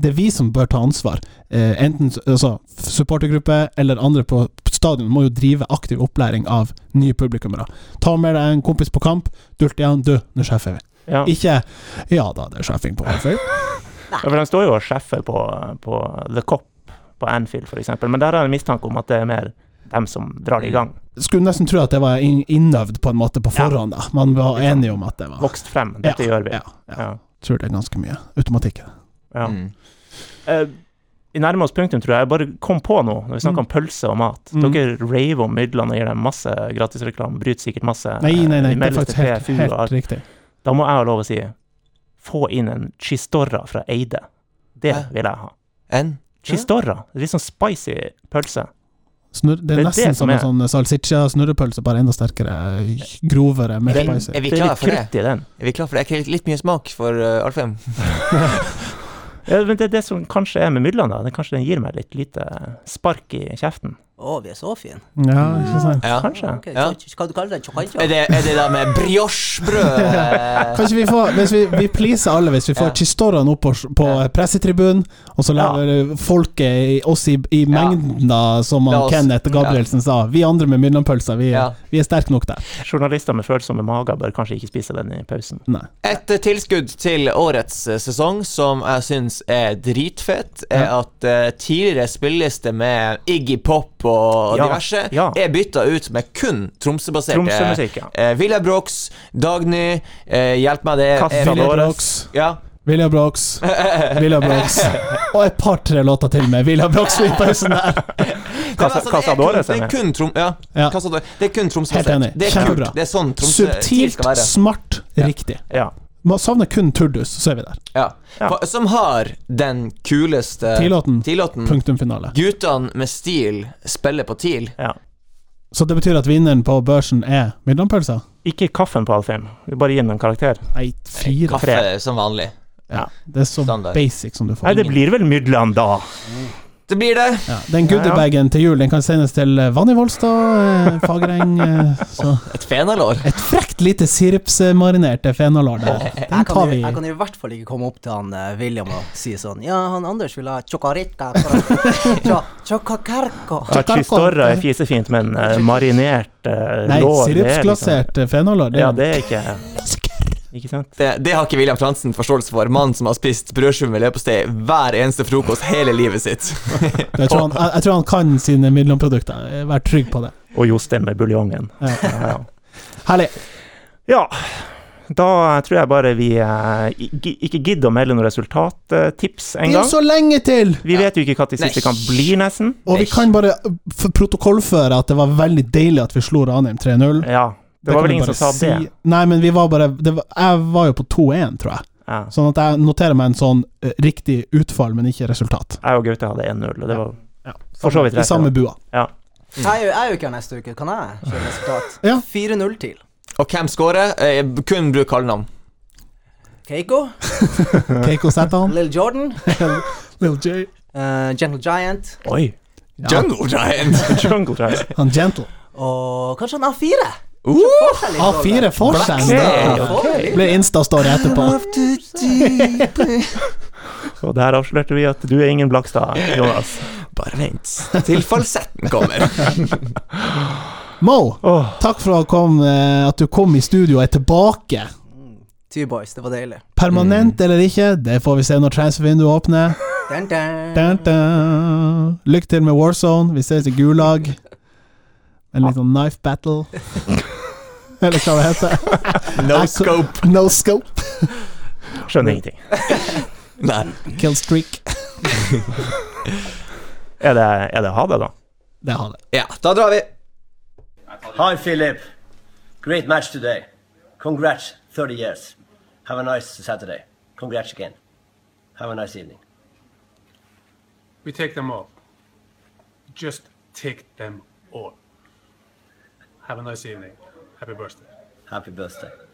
Det er vi som bør ta ansvar. Eh, enten s- altså, supportergruppe eller andre på stadion må jo drive aktiv opplæring av nye publikummere. Ta med deg en kompis på kamp, dult igjen, du, nå skjeffer vi. ja. Ikke ja da, det er sjefing på Alfheim. Ja, for de står jo og skjeffer på, på The Cop på Anfield, for eksempel. Men der har jeg en mistanke om at det er mer dem som drar det i gang. Skulle nesten tro at det var inn- innøvd på en måte på forhånd, da. Man var enige om at det var Vokst frem. Dette gjør vi. Ja, ja. Ja. Tror det er ganske mye automatikk i det. Ja. Mm. Eh, Vi nærmer oss punktum, tror jeg. Jeg bare kom på noe når vi snakker om pølse og mat. Mm. Dere raver om midlene og gir dem masse gratisreklame, bryter sikkert masse Nei, nei, eh, nei, det er meldes til faktisk helt, PFU og alt. helt riktig. Da må jeg ha lov å si få inn en chistorra fra Eide. Det Hæ? vil jeg ha. En? Chistorra. Litt sånn spicy pølse. Snurr, det Det er er nesten det som som en er- sånn salsiccia-snurrepølse, bare enda sterkere, eh, grovere, mer Er vi, spicy. er vi Det er klar litt for det? krutt i den. Er vi klar for det? Er ikke litt mye smak for uh, Alfheim? Ja, men det er det som kanskje er med midlene, da. Det, kanskje den gir meg litt lite spark i kjeften. Å, vi er så fine. Ja, ikke sant? Ja. Kanskje. Ok, Ja. hva- Hva du kaller du det? Chocaja? Er det, er det da med briochebrød? eh, Kan ikke vi få, hvis vi, vi pleaser alle hvis vi får Ja. chistoraen opp på, på Ja. pressetribunen, og så lar vi folket i, oss i, i mengden, da, som La han oss- Kenneth Gabrielsen sa. Vi andre med middelpølser, vi, Ja. vi er sterke nok der. Journalister med følsomme mager bør kanskje ikke spise den i pausen. Nei. Et eh, tilskudd til årets eh, sesong som jeg syns er dritfett, er Ja. at eh, tidligere spilleliste med Iggy Pop og Ja, diverse ja. er bytta ut med kun Tromsø-baserte Tromsø-musikk, ja. eh, Villa Brox, Dagny, eh, hjelp meg, det er- Kassa er vår. William Dolores. Brox, Ja. William Brox, William Brox. Og et par-tre låter til med William Brox i pausen der. Nei, men Casa- altså, Casadores er det er med. kun, det er kun Trom... Ja. Ja. Casadores. Det er kun Tromsø. Helt enig. Det er Kjempebra. kult. Det er sånn Tromsø TIL Subtilt, skal være. smart, riktig. Ja. Man savner kun turdus, så er vi der. Ja. Ja. For- Som har den kuleste Tilåten. Tilåten. Mm. Punktum finale. Guttene med stil spiller på TIL. ja. Så det betyr at vinneren på børsen er middelpølser? Ikke kaffen på Alfheim. Vi bare gir den en karakter. Nei, fire. Kaffe er som vanlig. Ja, det er så Standard. basic som du får. Nei, det blir vel midlene, da. Det blir det. Ja, den goodiebagen til jul Den kan sendes til eh, Vanni Volstad, eh, Fagereng eh, så. Et fenalår. Et frekt lite sirupsmarinerte fenalår der. Den Jeg tar kan, vi. jo- jeg kan i hvert fall ikke komme opp til han eh, William og si sånn Ja, han Anders vil ha chocarita fra Chocacarco. Ja, Chistorra er fisefint, men eh, marinert eh, Nei, lår det er sirupsglasert eh, fenalår. Liksom, ja, det er ikke Ikke sant? Det, det har ikke William Fransen forståelse for. Mannen som har spist brødskive med leverpostei hver eneste frokost hele livet sitt. jeg, tror han, jeg, jeg tror han kan sine middelomprodukter. eh, Vær trygg på det. Og Jostein med buljongen. Ja. Ja, ja. Herlig. ja. Da tror jeg bare vi eh, ikke ikke gidder å melde noe resultattips Det er jo engang. så lenge til! Vi vet jo ikke når de siste Nei. kan bli, nesten. Og vi kan bare eh, f- protokollføre at det var veldig deilig at vi slo Ranheim 3-0. Ja. Det var kan vel vi ingen som sa bare det. si. Nei, men vi var bare det var, Jeg var jo på 2-1, tror jeg. Ja. Sånn at jeg noterer meg en sånn eh, riktig utfall, men ikke resultat. Jeg og Gaute hadde 1-0, og det var Ja. for så vidt I rett. samme bua. Ja. Jeg er jo- jeg er jo ikke her neste uke, kan jeg kjøre resultat? Ja. 4-0 til. Og hvem scorer? Eh, kun bruk kallenavn. Keiko, Keiko Zetan, Lill Jordan, Lil J. eh, Gentle Giant Oi. Ja, Jungle Giant. Jungle Drive. han Gentle. og kanskje han A4? Uh, A4 Forsen! Blackstar. Ok. Ble Insta-story etterpå. Og der avslørte vi at du er ingen Blakstad, Jonas. Bare vent til falsetten kommer. Mo, Åh, takk for å komme, eh, at du kom i studio og er tilbake. T-boys, det var deilig. Permanent Mm. eller ikke, det får vi se når transfervinduet åpner. Dun, dun. Dun, dun. Lykke til med Warzone. Vi ses i Gulag. En litt sånn knife battle. Eller hva det heter. No scope. No scope. skjønner ingenting. Nei. Kill streak. Er det, er det ha det, da? Det har det. Ja, da drar vi. Hi, Philip. Great match today. Congrats, 30 years. Have a nice Saturday. Congrats again. Have a nice evening. We take them all. Just take them all. Have a nice evening. Happy birthday. Happy birthday.